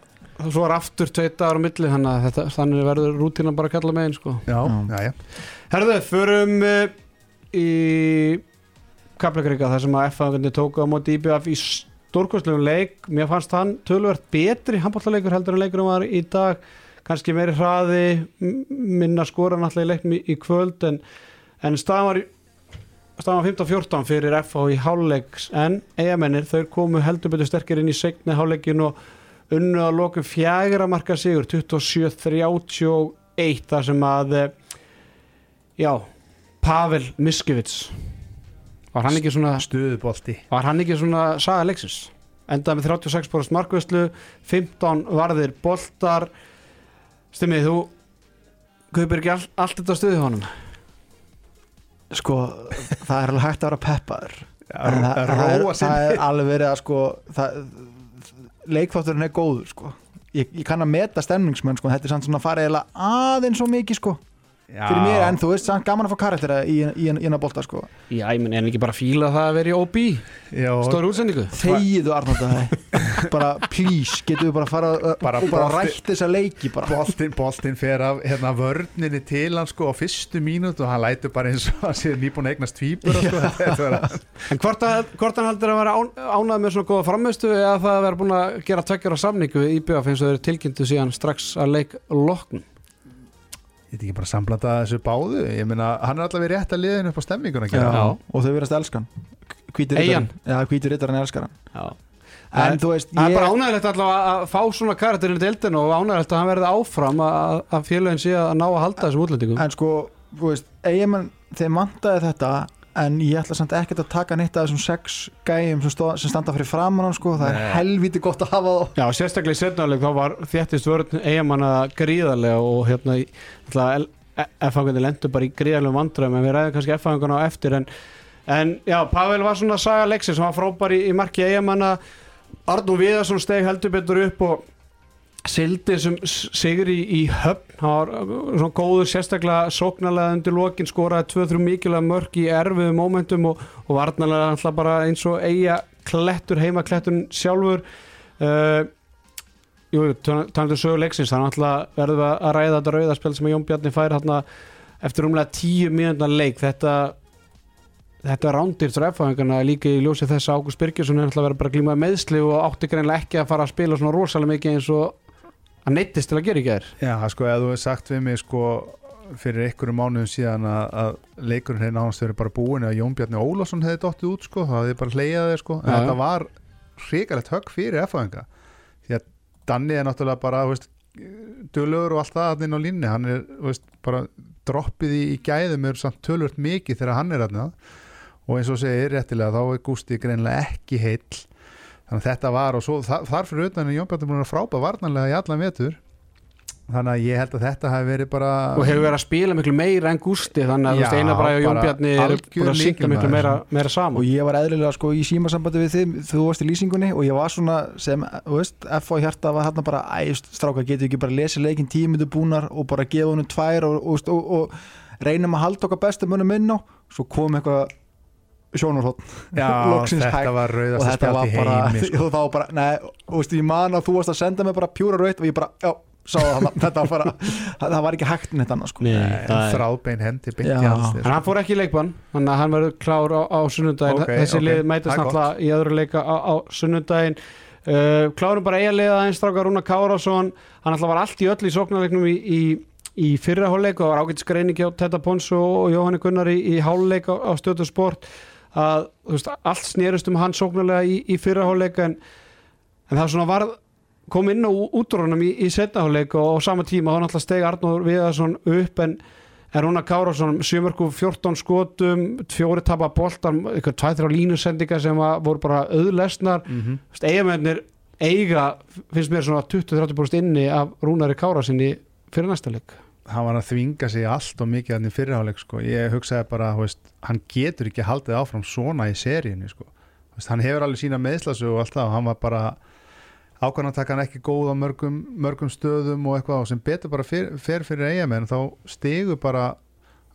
S1: svo er aftur tveit dagar á milli þannig að þetta, þannig verður rútínan bara að kalla með einn sko.
S2: já,
S3: Já.
S2: já, já
S1: Herðu, förum uh, í Kaplakrika þar sem að F-fangarnir tóku á móti IBF í stórkostlegum leik mér fannst hann tölvert betri handballaleikur heldur en leikurum var í dag kannski meiri hraði m- minna skora náttúrulega í leiknum í- í kvöld en, en staðan var í- staðan var 15-14 fyrir FH í hálfleiks en eigamennir þau komu heldur betur sterkir inn í segni hálfleikin og unnu að lokum fjagra marka sigur 27-31 þar sem að eh, já, Pavel Miskevits var hann ekki svona
S2: Stöðubolti
S1: var hann ekki svona saga leiksins endaði með 36% markvæslu 15 varðir boltar stimmið þú kaupir ekki all, allt þetta stuði honum
S3: sko, það er alveg hægt að vera peppaður
S2: Að- að
S3: En það, það, er,
S2: Róa
S3: það
S2: sinni
S3: er alveg verið að sko það, leikþátturinn er góður sko ég, ég kann að meta stemningsmenn sko en þetta er samt svona farið eiginlega aðeins svo mikið sko fyrir mér en þú veist samt gaman að fá karaktera í, í, í hennar bolta sko
S1: já, ég minn, en ekki bara fíla það að vera í OB
S2: Já,
S1: stóri útsendingu
S3: þegiðu Arnóta [laughs] bara please getur við bara að fara ö,
S2: Bara
S3: og bara
S2: bolti-
S3: rætt þessa leiki bara
S2: boltinn boltin fer af hérna, vörninni til hann sko á fyrstu mínútu og hann lætur bara eins og hann sé nýbúin að eignast tvíbur sko, þetta er að-
S1: en hvort, að, hvort hann heldur að vera án, ánað með svona góða frammeðstu eða það að vera búin að gera tveggjara samningu í BF eins og þeir tilkynntu síðan strax að leik lokn
S2: Ég veit ekki bara samblanda þessu báðu Ég meina, hann er allavega í rétt að liðinu upp á stemminguna að
S3: já,
S2: gera.
S3: og þau verðast elskan hvítir
S1: Eyjan.
S3: riddarinn. já hvítir riddarinn elskar hann
S1: já
S3: en,
S1: En-
S3: þú veist
S1: Það er bara
S3: ég,
S1: ánægilegt allavega að fá svona karakterinn í deildinu og ánægilegt að hann verði áfram að, að félagin sé að ná að halda þessum útlendingum
S3: en sko þú veist eigamenn þeim vantaði þetta en ég ætla samt ekkert að taka neitt af þessum sex gæjum sem, stóð, sem standa fyrir framan hann sko það
S2: Nei.
S3: er helviti gott að hafa þá
S1: Já, sérstaklega í setnaleg þá var þjættist vörðin eigamanna gríðarlega og hérna F-hangunni lendur bara í gríðarlegum vandræðum en við ræðum kannski F-hanguna á eftir en, en já, Pavel var svona saga leiksin sem var frábær í, í marki eigamanna Arnú Viðarsson steg heldur betur upp og sildi sem sigur í, í höfn hann var uh, svona góður sérstaklega sóknarlega undir lokin skoraði 2-3 mikilvæg mörg í erfiðum momentum og, og varnarlega alltaf bara eins og eiga klettur heima klettun sjálfur uh, Jú, jú, talandu sögu leiksins þannig alltaf verðum við að ræða þetta rauðarspjál sem að Jón Bjarni fær hérna eftir umlega tíu mínúna leik þetta þetta rándir þræfæðingana líka í ljósi þess að Ágúst Birgisson er alltaf verið bara að glíma við meðsli og átti greinlega ekki að fara að spila svona rosalega mikið eins og að neittist til að gera í gær
S2: Já, sko, eða þú hefur sagt við mig sko fyrir einhverju mánuðum síðan að, að leikurinn hefði nánast verið bara búin eða Jón Bjarni Ólafsson hefði dottið út sko það hefði bara hleyjað þeir sko en
S1: Já, já.
S2: þetta var hrikalegt högg fyrir F-hænga því að Danni er náttúrulega bara þú veist, dölur og allt það hann inn á línni hann er þú veist, bara droppið í, í gæðum er samt tölvört mikið þegar hann er hann og eins og segir réttilega þá er Gústi greinlega ekki heill þannig að þetta var og svo þa- þar fyrir utan er Jón Bjarni búin að frápa varnanlega í allan vetur þannig að ég held að þetta hafi verið bara
S1: og hefur verið að spila miklu meira en Gústi þannig að þú
S2: Já,
S1: veist Einar Bræði og Jón
S2: bara
S1: Bjarni eru
S2: algjör
S1: búin að syngja miklu
S2: lykilmaður.
S1: meira, meira
S3: og
S1: saman
S3: ég var eðlilega sko í símasambandi við þið þú varst í lýsingunni og ég var svona sem, þú veist, F.A. hjarta var hérna bara æst, stráka, getur ekki bara lesið leikinn tímindu búnar og bara gefa honum tvær og, og, og, og reynum að halda okkar besta munum inn á, svo kom eitthvað sjónarhótt
S2: [laughs] já,
S3: [laughs] loksins hægt.
S2: þetta var
S3: og
S2: rauðast að
S3: þetta
S2: spjátt
S3: var
S2: í
S3: bara, [laughs]
S2: heimi sko.
S3: og þá bara nei, og veist, ég man að þú varst að senda mig bara pjúra raut og ég bara, já, sá það þarna. þetta var bara, [laughs] það, það var ekki hægt neitt annars sko.
S2: Nei, þráðbein hendi beint í
S3: Já.
S2: hans sko.
S1: En hann fór ekki í leikbann, þannig að hann verður klár á, á sunnundaginn,
S2: Ok,
S1: þessi
S2: ok.
S1: lið mætast
S2: Það er gott.
S1: náttúrulega í öðru leika á, á sunnundaginn uh, Klárum bara eiga liða eins strákar Rúna Kárásson hann alltaf var allt í öll í sóknarleiknum í, í, í fyrra hálfleik og það var ágætis greiningi á Tetta Pons og, og Jóhanni Gunnar í, í hálfleik á, á stöðu sport að þú veist, allt snerist um hann sóknarlega í, í fyrra hálfleik en, en það svona varð kom inn á útrunum í, í setna hálfleik og á sama tíma þá náttúrulega steg Arnóður Viðarsson upp en En Rúna Kárásson, 7 14 skotum, fjóri tapa boltar, eitthvað tvæð-þrjá línusendingar sem að voru bara auðlesnar.
S2: mm -hmm.
S1: Þú veist, eigamennir eiga, finnst mér svona 20-30% inni af Rúnari Kárásinni fyrir næsta leik.
S2: hann var að þvinga sig í allt og mikið þannig fyrirháleik sko. ég hugsaði bara, þú veist, hann getur ekki haldið áfram svona í seríunni sko. Þú veist, hann hefur alveg sína meðslasu og allt það og hann var bara ákvæðan að taka hann ekki góð á mörgum, mörgum stöðum og eitthvað og sem betur bara fer, fer fyrir eigamenn þá stigu bara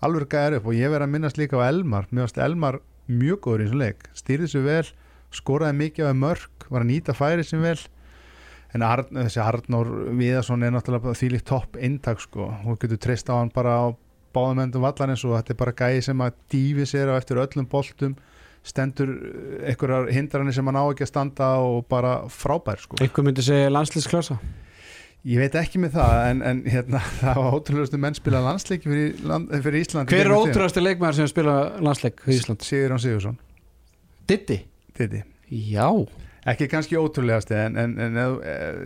S2: alveg gæðar upp og ég verið að minnast líka á Elmar mér varst Elmar mjög góður í þessum leik stýrði sér vel, skoraði mikið á þeim mörg var að nýta færi sem vel en Arn, þessi Arnór Viðarsson er náttúrulega þýlíkt topp inntak sko, hún getur treyst á hann bara á báðum endum vallarins og þetta er bara gæði sem að dýfi sér á eftir öllum boltum stendur eh, einhverjar hindranir sem hann á ekki að standa og bara frábær sko.
S1: Einhver myndi segja landslýsklösa.
S2: Ég veit ekki með það en, en hérna, [laughs] það var ótrúlegustu menn spila landsleiki fyrir, land, eh, fyrir Ísland
S1: Hver er ótrúðasti leikmæður sem spila landsleik í Ísland?
S2: Sigur Án Sigursson,
S1: Diddi?
S2: Didi
S1: Já.
S2: Ekki kannski ótrúlegasti en, en, en eh, eh,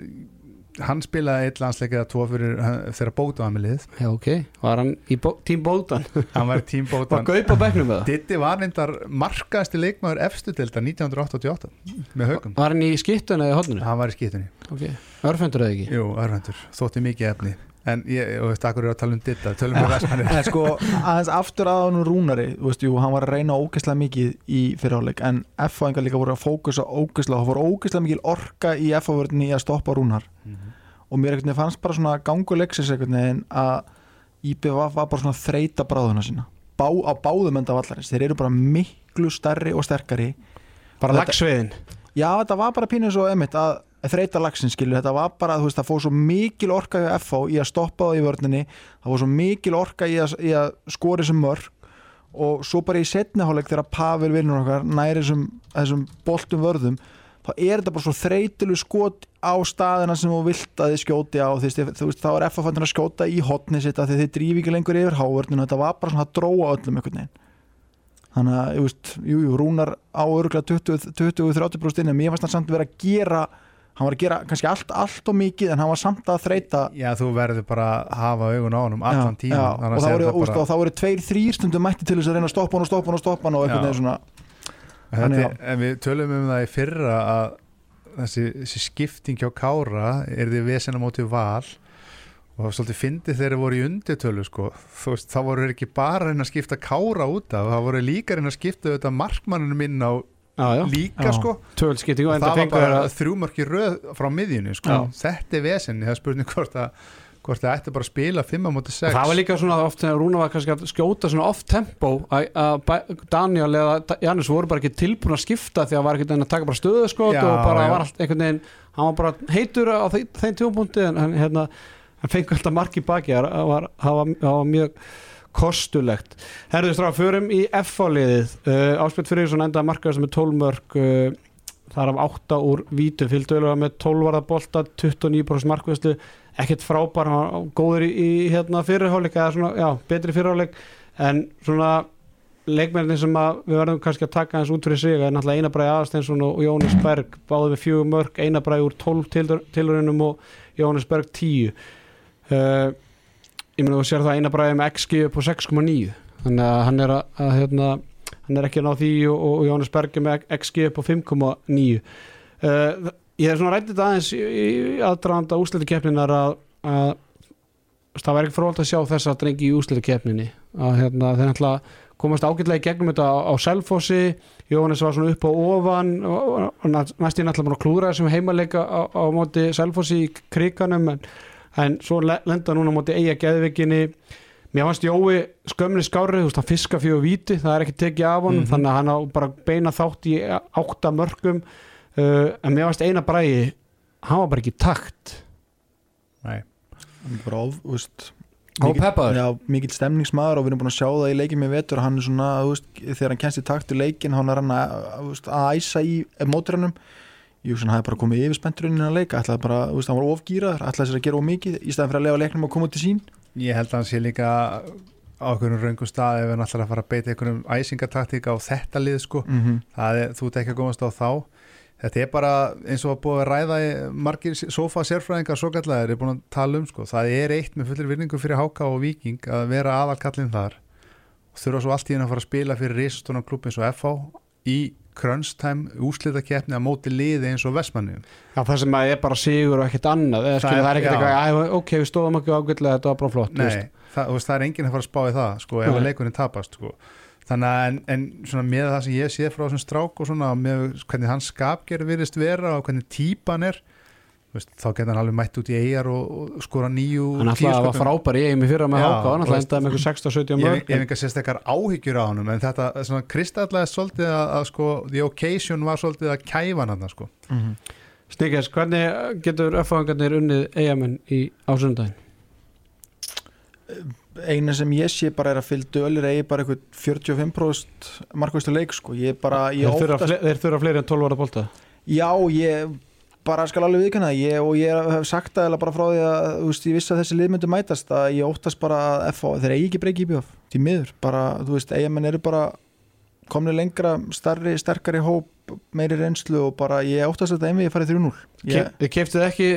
S2: hann spilaði eitt landsleik eða tvo fyrir eh, þegar bóta var með lið
S1: Já, ok, var hann í bó, tím bótan
S2: hann var
S1: Var
S2: tímbótan
S1: gaup á bekknum með það?
S2: Ditti var reyndar markaðasti leikmaður efstu delta 1988 með haugum
S1: Var hann í skittunni eða í hodninu?
S2: hann var í skýtunni,
S1: Ok, örfendur eða ekki?
S2: jú, örvendur þótti mikið efni en ég, og veist, akkur eru að tala um Ditta tölum við
S1: [laughs]
S2: vestmannir
S3: En sko, aðeins aftur að hann rúnari þú veist, jú, hann var að reyna ógeðslega mikið í fyrirháleik en F-fáingar líka voru að fókusa ógeðslega, það voru ógeðslega mikil orka í F-fávörðinni í að stoppa rúnar og mér einhvern veginn fannst bara svona ganguleiksins einhvern veginn að IPVF var bara svona að þreita bráðuna sína Bá, á báðum enda vallarins, þeir eru bara miklu stærri og sterkari
S1: Bara
S3: Þetta-
S1: lagsveiðin
S3: Já, þetta var bara pínu svo emitt að þreita lagsin skilju, þetta var bara þú veist, það fór svo mikil orka í FH í að stoppa það í vörninni, það fór svo mikil orka í að, í að skori sem mörg og svo bara í setni hálfleik þegar Pavel vinnur okkar næri þessum, þessum boltum vörðum þá er þetta bara svo þreytilu skot á staðina sem þú vilt að þið skjóti á þú veist, þú veist, þá er FH fannir að skjóta í hotni sitt af því þið drífi ekki lengur yfir hávörninu þetta var bara svona að dróa öllum einhvern veginn þannig að, þú veist, jú, jú, Rúnar á örgulega 20-30% inn en mér fannst hann samt vera að gera hann var að gera kannski allt, allt og mikið en hann var samt að þreita
S2: já, þú verður bara að hafa augun á honum allan
S3: Já, já,
S2: tíma
S3: og það voru, úst, og það voru tveir, þrýr stundum mætti til þess að reyna að stoppa hann og stoppa hann og stoppa hann og einhvern
S2: Já.
S3: veginn svona
S2: Þetta,
S3: Þannig
S2: er- en við tölum um það í fyrra að þessi, þessi skipting hjá Kára er því vesina móti val og það var svolítið fyndið þegar þeir voru í undirtölu sko. Þú veist, þá voru þeir ekki bara að reyna að skipta Kára út af það voru líka að reyna að skipta þetta markmanninu minn á
S1: Já, já,
S2: líka
S3: Já.
S2: sko.
S1: tölskipting og
S2: það
S1: enda
S2: var
S1: fengur
S2: bara
S1: að
S2: þrjú mörki röð frá miðjunni sko.
S1: Já.
S2: þetta er vesinni, það er spurning hvort að hvort það ætti bara að spila 5 móti 6
S1: Og Það var líka svona oft þegar Rúna var kannski að skjóta svona off tempo að að bæ- Daniel eða Da- Janus voru bara ekki tilbúin að skipta því að var ekkert enn að taka bara stöðu sko. skot
S2: Já,
S1: og bara
S2: já.
S1: var allt einhvern veginn hann var bara heitur á þeim, þeim tjópunkti en hann, hérna, hann fengi alltaf mark í baki það var, það var, það var mjög kostulegt. Herðu strá, förum í F-áliðið. Uh, Áspjöld Friðjónsson endaði markaðast með 12 mörg uh, þar af 8 úr vítu fylgdöðlega með 12 varða bolta 29% markvæslu, ekkert frábær hann var góður í, í hérna fyrirháleik eða svona, já, betri fyrirháleik en svona leikmennin sem að við verðum kannski að taka hans út fyrir sig er náttúrulega Einabræði Aðarsteinsson og Jónis Berg báði við fjögur mörg, Einabræði úr 12 tilurinnum og Jónis Berg 10 uh, ég meina þú sér það eina bræði með XG upp á 6,9 þannig að hann er, að, að, hérna, hann er ekki að ná því og, og Jónas Bergi með XG upp á 5,9 uh, ég er svona rættið aðeins í, í aðdraðanda úrslitakeppninar að, að það væri ekki fróðald að sjá þessa drengi í úrslitakeppninni að hérna, þeir náttúrulega komast ágætlega í gegnum þetta á, á Selfossi Jónas var svona upp á ofan og, og, og næst ég náttúrulega búin að klúðra þessum heimaleika á, á móti Selfossi í kriganum en en svo le- lenda núna á móti eiga geðvikinni mér fannst Jói skömmni skárið þú veist, hann fiska fyrir víti, það er ekki tekið af honum
S2: Mhm.
S1: þannig að hann á bara beina þátt í átta mörgum uh, en mér fannst eina bræði hann var bara ekki í takt
S2: Nei.
S3: hann er bara of, þú veist
S1: Hann var
S3: mikill-
S1: peppaður.
S3: Já, mikill stemningsmaður og við erum búin að sjá það í leikin með vetur hann er svona, þú veist, þegar hann kennst í takt í leikin hann er hann að, þú veist, að æsa í mótrannum, jú, hann hafði bara komið yfir spennturinn að leika, ætlaði bara, þú veist, hann var ofgýraður ætlaði sér að gera of mikið, í staðan fyrir að lefa leiknum að koma til sín
S2: Ég held að hann sé líka á einhvern raungum stað ef hann ætlar að fara að beita einhvern æsingataktíka á þetta lið sko.
S3: mm -hmm.
S2: Það er, þú ert ekki að komast á þá. Þetta er bara eins og að búið að ræða í- margir sofa sérfræðingar svo kallar er búin að tala um sko. Það er eitt með fullir virningu fyrir Háka og Víking að vera aðalkallinn þar og þurfa svo allt í henn að fara að spila fyrir risastónan klubbi eins og FH í krönstæm úslitakeppni að móti liði eins og Vestmanni
S1: Já, það sem að er bara sigur og ekkert annað eða,
S2: Það
S1: skilur,
S2: er-
S1: það er ekkert
S2: já.
S1: eitthvað, "Æ, ok, við stóðum ekki ágætlega þetta var bara flott þú veist.
S2: Nei, það, þú veist, það er enginn að fara að spá í það sko, ef
S1: Nei.
S2: að leikunni tapast sko. þannig að en, en svona með það sem ég sé frá þessum strák og svona með hvernig hans skapgerð virðist vera og hvernig típan er þú veist, þá getur hann alveg mætt út í eigar og, og skora nýju
S1: hann alltaf var frábær í eigum í fyrra með
S2: Já,
S1: háka hann
S2: þú
S1: alltaf
S2: veist.
S1: endaði með eitthvað 16-17
S2: Ég ég
S1: mörg
S2: hef engar sérstakar áhyggjur á honum en þetta svona, kristallaði svolítið að, að sko, the occasion var svolítið að kæfa hann þarna, sko.
S1: Sniggers, hvernig getur öfðangarnir unnið eigamenn í ásundaginn?
S3: eina sem ég sé bara er að fylg dölir eigi bara eitthvað 45% markvæslu leik sko, ég bara ég
S1: Þeir þurfa
S3: óttast-
S1: fle- þeir þurfa fleiri en 12 ára bolta
S3: Já, ég bara skal alveg viðkynna það. ég, og ég hef sagt það eiginlega bara frá því að þú veist, ég vissi að þessi lið myndi mætast að ég óttast bara að FH, þeir eigi ekki breyki í bjóf því miður, bara, þú veist, eigamenn eru bara komni lengra, starri, sterkari hóp, meiri reynslu og bara ég óttast þetta einvið ég farið 3-0
S1: Kef,
S3: ég,
S1: Þið keftið ekki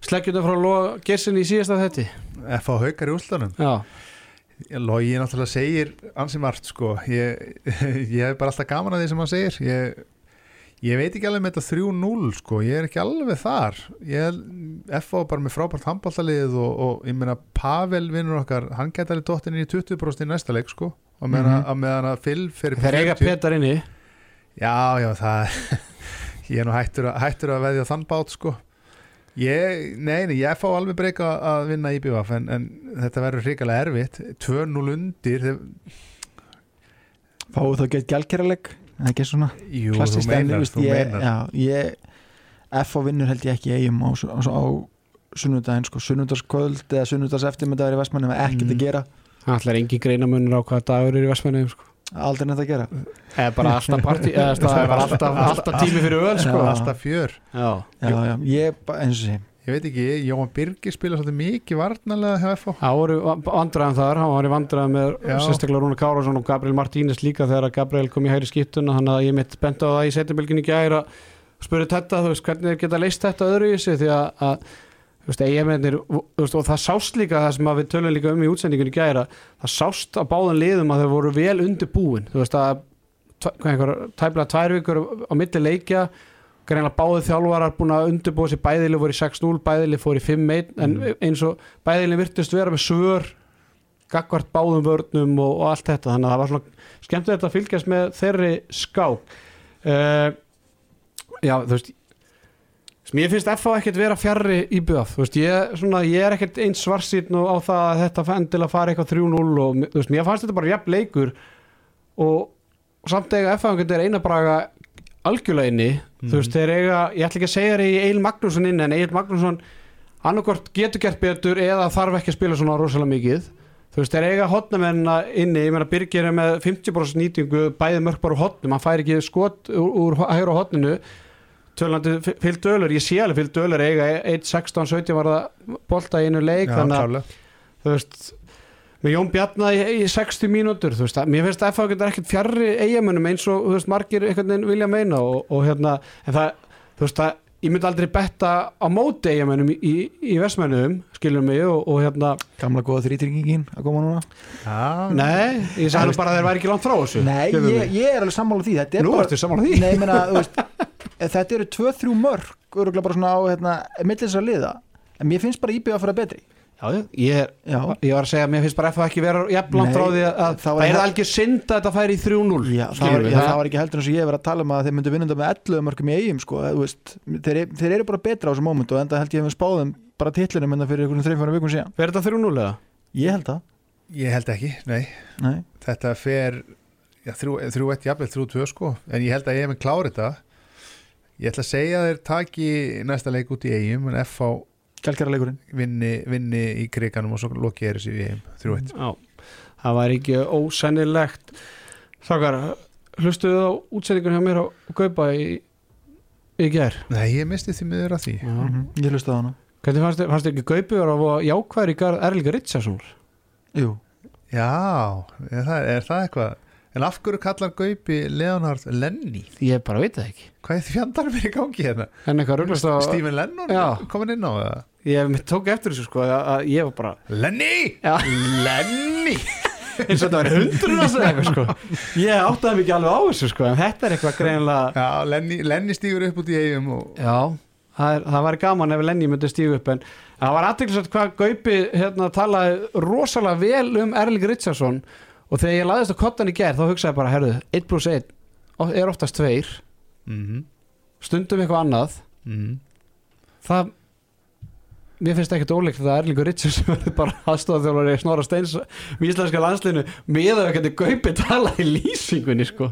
S1: sleggjunum frá Lóa Gersin í síðasta þetti
S2: F.A. Haukar í úslanum
S1: Já,
S2: Logi náttúrulega segir ansi margt sko ég, [laughs] ég hef bara alltaf gaman að því sem hann segir ég, ég veit ekki alveg með þetta 3-0 sko, ég er ekki alveg þar ég, F.A. bara með frábært handbóltalið og, og ég meina Pavel vinnur okkar, hann gæti alveg dottin í 20% í næsta leik sko og meðan mm
S3: Mhm.
S2: -hmm. með að Phil fyrir
S1: þeir eiga
S2: 40.
S1: Petar inni
S2: Já, já, það [laughs] ég er nú hættur að, hættur að veðja þann bát sko ég, nei, nei, ég fá alveg breyka að vinna IBVF en, en þetta verður hrikalega erfitt 2-0 undir þeir,
S3: Fáðu þá gett gælkerraleg ekki svona
S2: jú,
S3: klassist
S2: þú meinar, þú
S3: ég,
S2: meinar
S3: já, ég, F á vinnur held ég ekki í eigum á, á, á sunnudaginn sko, sunnudaskvöld eða sunnudas eftirmyndagur í Vestmanni með ekkert
S2: Mm.
S3: að gera
S1: Það ætlar engi greinamunur á hvaða dagur er í Vestmanni sko.
S3: aldrei neitt að gera
S1: eða bara alltaf [laughs] partí eða það er bara alltaf, alltaf tími fyrir öl sko.
S3: Já.
S2: alltaf fjör,
S1: Já.
S3: já, já, ég, ba- eins og sé
S2: ég veit ekki Jóhann Birgir spila svolítið mikið varnalega hjá FH
S1: Það voru vandræðan þar, hann var í vandræðan með
S2: Já.
S1: sérstaklega Rúna Kárásson og Gabriel Martínez líka þegar að Gabriel kom í hægri skiptuna þannig að ég mitt bent á það í setjumilginni gæri að spurði þetta, þú veist, hvernig þeir geta leist þetta öðru í sig því að, að þú veist, eigamennir, veist, og það sást líka það sem að við tölum líka um í útsendingunni gæri að það sást á báðan liðum að þeir voru vel undirbúin, þú veist að tv- hvað einhver, tæplega tvær vikur á milli leikja greinlega báði þjálfarar búin að undirbúa sér bæðili voru í 6-0, bæðili fór í 5-1 en
S2: Mm.
S1: eins og bæðili virtist vera með svör gagvart báðum vörnum og, og allt þetta þannig að það var svona skemmtilegt að fylgjast með þeirri skák uh, já þú veist Mér finnst FH ekkert vera fjarrri í BF veist, ég, svona, ég er ekkert eins svarsýrn á það að þetta endilega fari eitthvað 3-0 og mér- þú veist, mér fannst þetta bara jafn leikur og samt eiga FH er eina braga algjörlega inni þú veist, þeir eiga, ég ætla ekki að segja þeir í Egil Magnússon inn en Egil Magnússon annarkort getur gert betur eða þarf ekki að spila svona rosalega mikið þú veist, þeir eiga hotnamennina inni ég meina Birgir er með 50% nýtingu bæði mörg bara úr hotnum, hann fær ekki skot úr, úr hægur á hotninu tölandi fylg dölur, ég sé alveg fylg dölur eiga 1, 16, 17 var það bolta í einu leik,
S2: Já,
S1: þannig að
S2: klálega.
S1: þú veist með Jón Bjarna í, í 60 mínútur þú veist, að, mér finnst að FH getur ekkert fjarrri eigamönnum eins og þú veist, margir einhvern veginn vilja meina og, og hérna, en það þú veist að ég myndi aldrei betta á móti eigamönnum í, í, í vestmennum skiljum mig og, og hérna
S3: gamla góða þrýtryggingin að koma núna
S2: Já,
S1: nei, ég sagði nú bara að þeir væri ekki langt frá þessu
S3: Nei,
S1: skilurðu
S3: ég,
S1: mig.
S3: ég er alveg sammála því Þetta er
S1: nú
S3: bara
S1: ertu saman á því
S3: Nei, ég meina, þú veist, eh, þetta eru 2-3 mörg öruglega bara svona á hérna, millis að liða en mér finnst bara íbjöða að fara betri
S1: Já, já, ég, er,
S3: Já,
S1: ég var að segja að mér finnst bara FH ekki vera jafn langt
S3: Nei,
S1: frá því að
S3: það
S1: það,
S3: var-
S1: er algjör synd að þetta færi í 3-0
S3: já, það,
S1: skilurðu
S3: var,
S1: mig,
S3: já það var ekki heldur eins og ég hef verið að tala um að þeir myndu vinnenda með 11 mörgum í eigum sko, þú veist, þeir, þeir eru bara betra á þessu móment og enda held ég að við spáðum bara titlunum en það fyrir einhvern 3-4 vikum síðan
S1: Verður þetta 3-0 eða?
S3: Ég held það,
S2: ég held ekki, nei
S3: nei
S2: þetta fer já, 3-1 jafnvel 3-2 sko en ég held að ég hef með klárið þetta ég ætla að segja að þeir taki næsta leik út í eigum en FH
S3: Kjálkjaraleikurinn
S2: vinni, vinni í kriganum og svo loki er þessi í eigum 3-1
S1: Já, það var ekki ósennilegt Þakkar, hlustuðu á útsendingun hjá mér á Gaupa í, í gær
S2: Nei, ég misti því miður að því
S1: Hvernig
S3: Mhm. Ég hlusta á hana
S1: fannst þér- fannst þér ekki Gaupi var að voða jákvæður í garð Erlinga Ritsason?
S3: Jú,
S2: Já, er það, er það eitthvað En af hverju kallar Gaupi Leonhard Lenny?
S1: Ég bara veit það ekki
S2: Hvað er því fjandarum er í gangi hérna?
S1: En eitthvað rugglast á
S2: Stephen Lennon
S1: Já.
S2: komin inn á það?
S1: Ég mér tók eftir þessu sko að, að ég var bara
S2: Lenny!
S1: Já.
S2: Lenny!
S1: eins og þetta var hundrun að segja eitthvað sko [laughs] Ég áttaði mig ekki alveg á þessu sko en þetta er eitthvað greinlega
S2: Já, Lenny, Lenny stígur upp út í eigum og
S1: Já, það, er, það var gaman ef Lenny myndi stígu upp en það var aðteklisvægt hvað Gaupi hérna, talaði rosalega vel um Erling Richardson og þegar ég laðist á kottan í gær þá hugsaði ég bara, herðu, 1 pluss 1 of- er oftast 2,
S2: mm -hmm.
S1: stundum eitthvað annað
S2: mhm.
S1: það mér finnst ekkert ólíkt að Erlingur Richardson [laughs] verði bara aðstofþjólari Snorra Steins í íslenska landslinu með að hvernig Gaupi talaði í lýsingunni sko.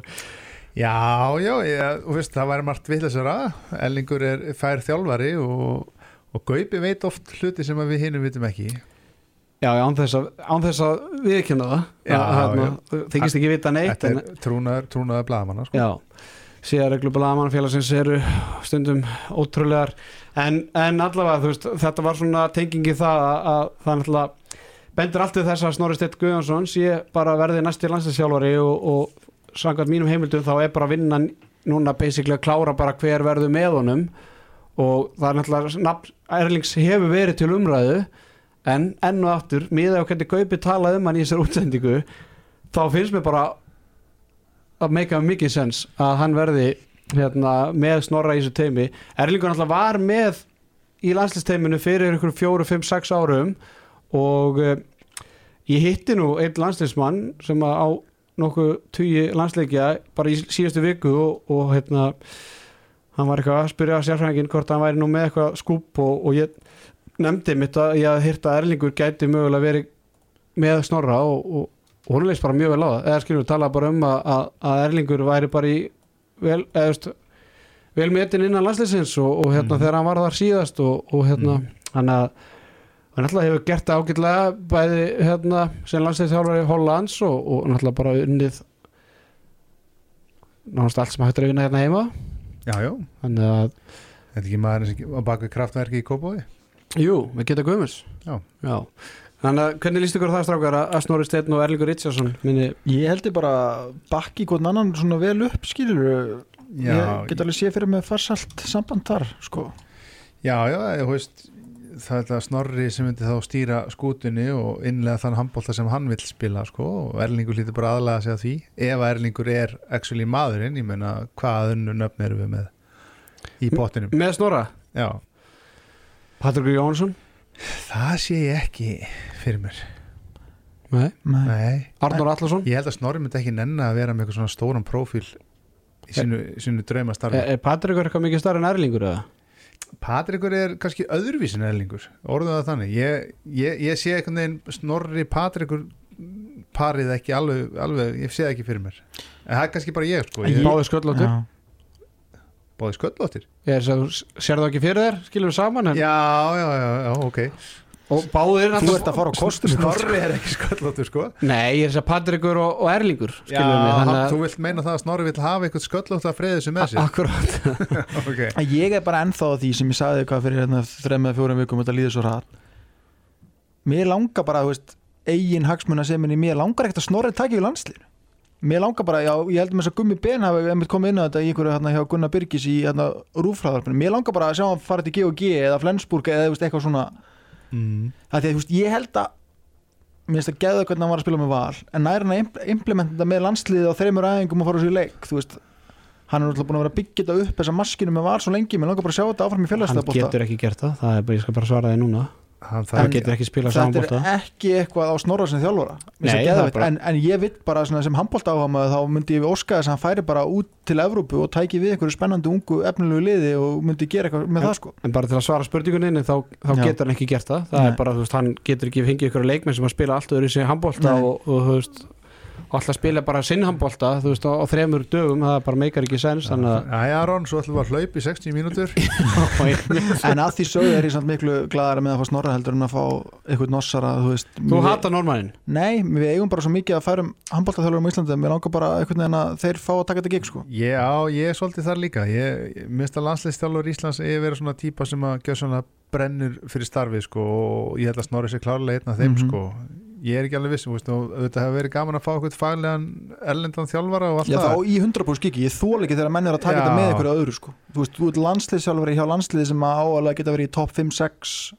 S2: Já, já, ég, og veist, það væri margt vitlisara, Ellingur er fær þjálfari og, og Gaupi veit oft hluti sem að við hinum vitum ekki.
S1: Já, já, án þess að, án þess að viðkynna það
S2: Já,
S1: já. þykist ekki vita neitt
S2: Þetta
S1: en-
S2: er trúnaður, trúnaður blaðamanna, sko.
S1: Já, síðarreglu blagamannfélagsins eru stundum ótrúlegar en, en allavega þú veist, þetta var svona tengingi það að, að það náttúrulega bendur allt til þess að Snorri Steitt Guðjónsson sé bara verði næsti landsinsjálfari og, og samkvæmt mínum heimildum þá er bara vinnan núna basically að klára bara hver verður með honum og það er náttúrulega nafn Erlings hefur verið til umræðu en enn og aftur, miða á hvernig Gaupi talaði um hann í þessar útsendingu þá finnst mér bara að make a mikið sens að hann verði hérna, með snorra í þessu teimi Erlingur náttúrulega var með í landslisteiminu fyrir ykkur fjóru, fimm, sex árum og eh, ég hitti nú einn landslismann sem að á nokkuð tugi landsleikja bara í síðustu viku og, og hérna hann var eitthvað að spyrja sérfræðingin hvort hann væri nú með eitthvað skúp og, og ég nefndi mitt að ég hafði hýrt að Erlingur gæti mögulega verið með snorra og, og, og hún leist bara mjög vel á það eða skilur við tala bara um að, að, að Erlingur væri bara í vel, eða, þú veist, vel metin innan landsleisins og, og hérna
S2: Mhm.
S1: þegar hann var þar síðast og, og hérna hann að hann alltaf hefur gert það ágætlega bæði hérna sem landsleisþjálfari Hollands og, og náttúrulega bara unnið náttúrulega allt sem hægt er að vinna hérna heima
S2: já, já,
S1: þannig að
S2: þetta er ekki maður sem að baka kraftverki í kópói
S1: Jú, við geta guðmurs
S2: Já.
S1: Þannig að hvernig líst ykkur á það strákar að að Snorri Steinn og Erlingur Richardson minni
S3: Ég heldur bara að bakki hvort annan svona vel upp skilur
S2: já,
S3: Ég get alveg séð fyrir með farsalt samband þar sko
S2: já, já, ég veist það er það snorri sem myndi þá stýra skútunni og innlega þann handbólta sem hann vill spila sko, og Erlingur lítur bara aðlaga sig að því ef að Erlingur er actually maðurinn, ég meina hvað önnu nöfn erum við með í pottinum
S1: með Snorra?
S2: já,
S1: Patrikur Jónsson?
S2: það sé ég ekki fyrir mér,
S1: Nei
S3: Nei.
S2: nei
S1: Arnur Allarsson?
S2: Ég held að Snorri myndi ekki nenni að vera með eitthvað svona stóran prófíl í sínu, sínu draumastarfi.
S1: Er, er Patrikur eitthvað mikið starri en Erlingur eða?
S2: Patrikur er kannski öðruvísin erlingur, orðum það þannig. Ég, ég, ég sé einhvern veginn Snorri Patrikur parið ekki alveg, alveg, ég sé það ekki fyrir mér. En það er kannski bara ég, sko. Ég er
S1: Báði sköllóttur?
S3: Já.
S2: báði sköllóttir.
S1: Ég sér það ekki fyrir þér? Skilur við saman?
S2: Já,
S1: En,
S2: já, já, já, ok.
S1: og báðir
S3: Þú ert að fara á kostum
S2: Snorri er ekki sköllóttur, sko.
S1: Nei, ég er að segja Patrikur og, og Erlingur
S2: Já,
S1: skilur við
S2: hann,
S1: þannig
S2: þú vilt meina það að Snorri vill hafa eitthvað sköllótt að freyða þessu með
S1: að [laughs]
S2: sér.
S1: Akkurát
S2: ok.
S3: Að Ég er bara ennþá að því sem ég sagði eitthvað fyrir hérna þrem eða fjórum vikum þetta líður svo rætt Mér langar bara, þú veist eigin hagsmuna sem minni, mér langar ekkert að snorri taki í landslinu Mér langar bara, já, ég heldur með þess að Gummi Ben hafi einmitt komið inn á þetta í einhverju hérna hjá Gunnar Byrgis í hérna rúfræðarfinu Mér langar bara að sjá hann fara til G&G eða Flensburg eða þú veist, eitthvað svona
S2: Mm.
S3: Það því að þú veist, ég held að mér finnst að geða hvernig hann var að spila með val en nær hann að impl- implementa þetta með landsliðið á þreymur æfingum og fara þessu í leik þú veist, hann er náttúrulega búin að vera að byggja þetta upp þessa maskinu með val svo lengi, mér langar bara að sjá þetta áfram í
S1: Hann
S3: félagslega
S1: getur ekki gert það, það er bara, ég skal bara svara þið núna
S2: Hann þarf
S1: Hann
S2: ekki-
S1: getur ekki spila
S3: þetta
S1: samanbólta
S3: er e- ekki eitthvað á snorra sem þjálfara Mér
S1: Nei,
S3: finnst það
S1: það er
S3: geðveikt.
S1: bara-
S3: en, en ég vitt bara svona, sem handbólta áhamaði þá myndi ég óska þess að hann færi bara út til Evrópu og tæki við einhverju spennandi ungu efnilegu liði og myndi gera eitthvað með það sko
S1: en bara til að svara spurninguninni þá, þá
S3: Já.
S1: getur hann ekki gert það það
S3: Nei.
S1: er bara, þú veist, hann getur ekki fengið ykkur leikmenn sem að spila allt öðru í sig handbólta
S3: Nei.
S1: og, og þú veist og alltaf spila bara sinn handbólta, þú veist, á, á þremur dögum það bara meikar ekki sens þannig
S2: Æja Aron, svo ætlum við að hlaupa í 60 mínútur
S1: að
S3: en að því sögðu er ég samt miklu glæðara með að fá snorra heldur en að fá eitthvað nossara þú veist,
S1: þú
S3: mér-
S1: hata normannin
S3: Nei, við eigum bara svo mikið að færum handbóltaþjólarum í Íslandi, mér langar bara einhvern veginn að þeir fá að taka þetta gig sko
S2: Ég, á, ég er svolítið þar líka Ég ég- minnst að landsleistjálfur Íslands eigi verið svona típa sem að gjöð svona brennur fyrir starfið sko og ég held að snorri sér klárlega einn af þeim
S3: Mhm.
S2: sko Ég er ekki alveg viss, þú veist, og þetta hefur verið gaman að fá eitthvað faglegan erlendan þjálfara og allt
S3: Já,
S2: það
S3: þá í 100% gigi, ég þól ekki þegar menn er að taka
S2: Já.
S3: þetta með einhverju öðru sko Þú veist, þú ert landsliðsjálfari hjá landsliði sem að áalega geta verið í topp 5-6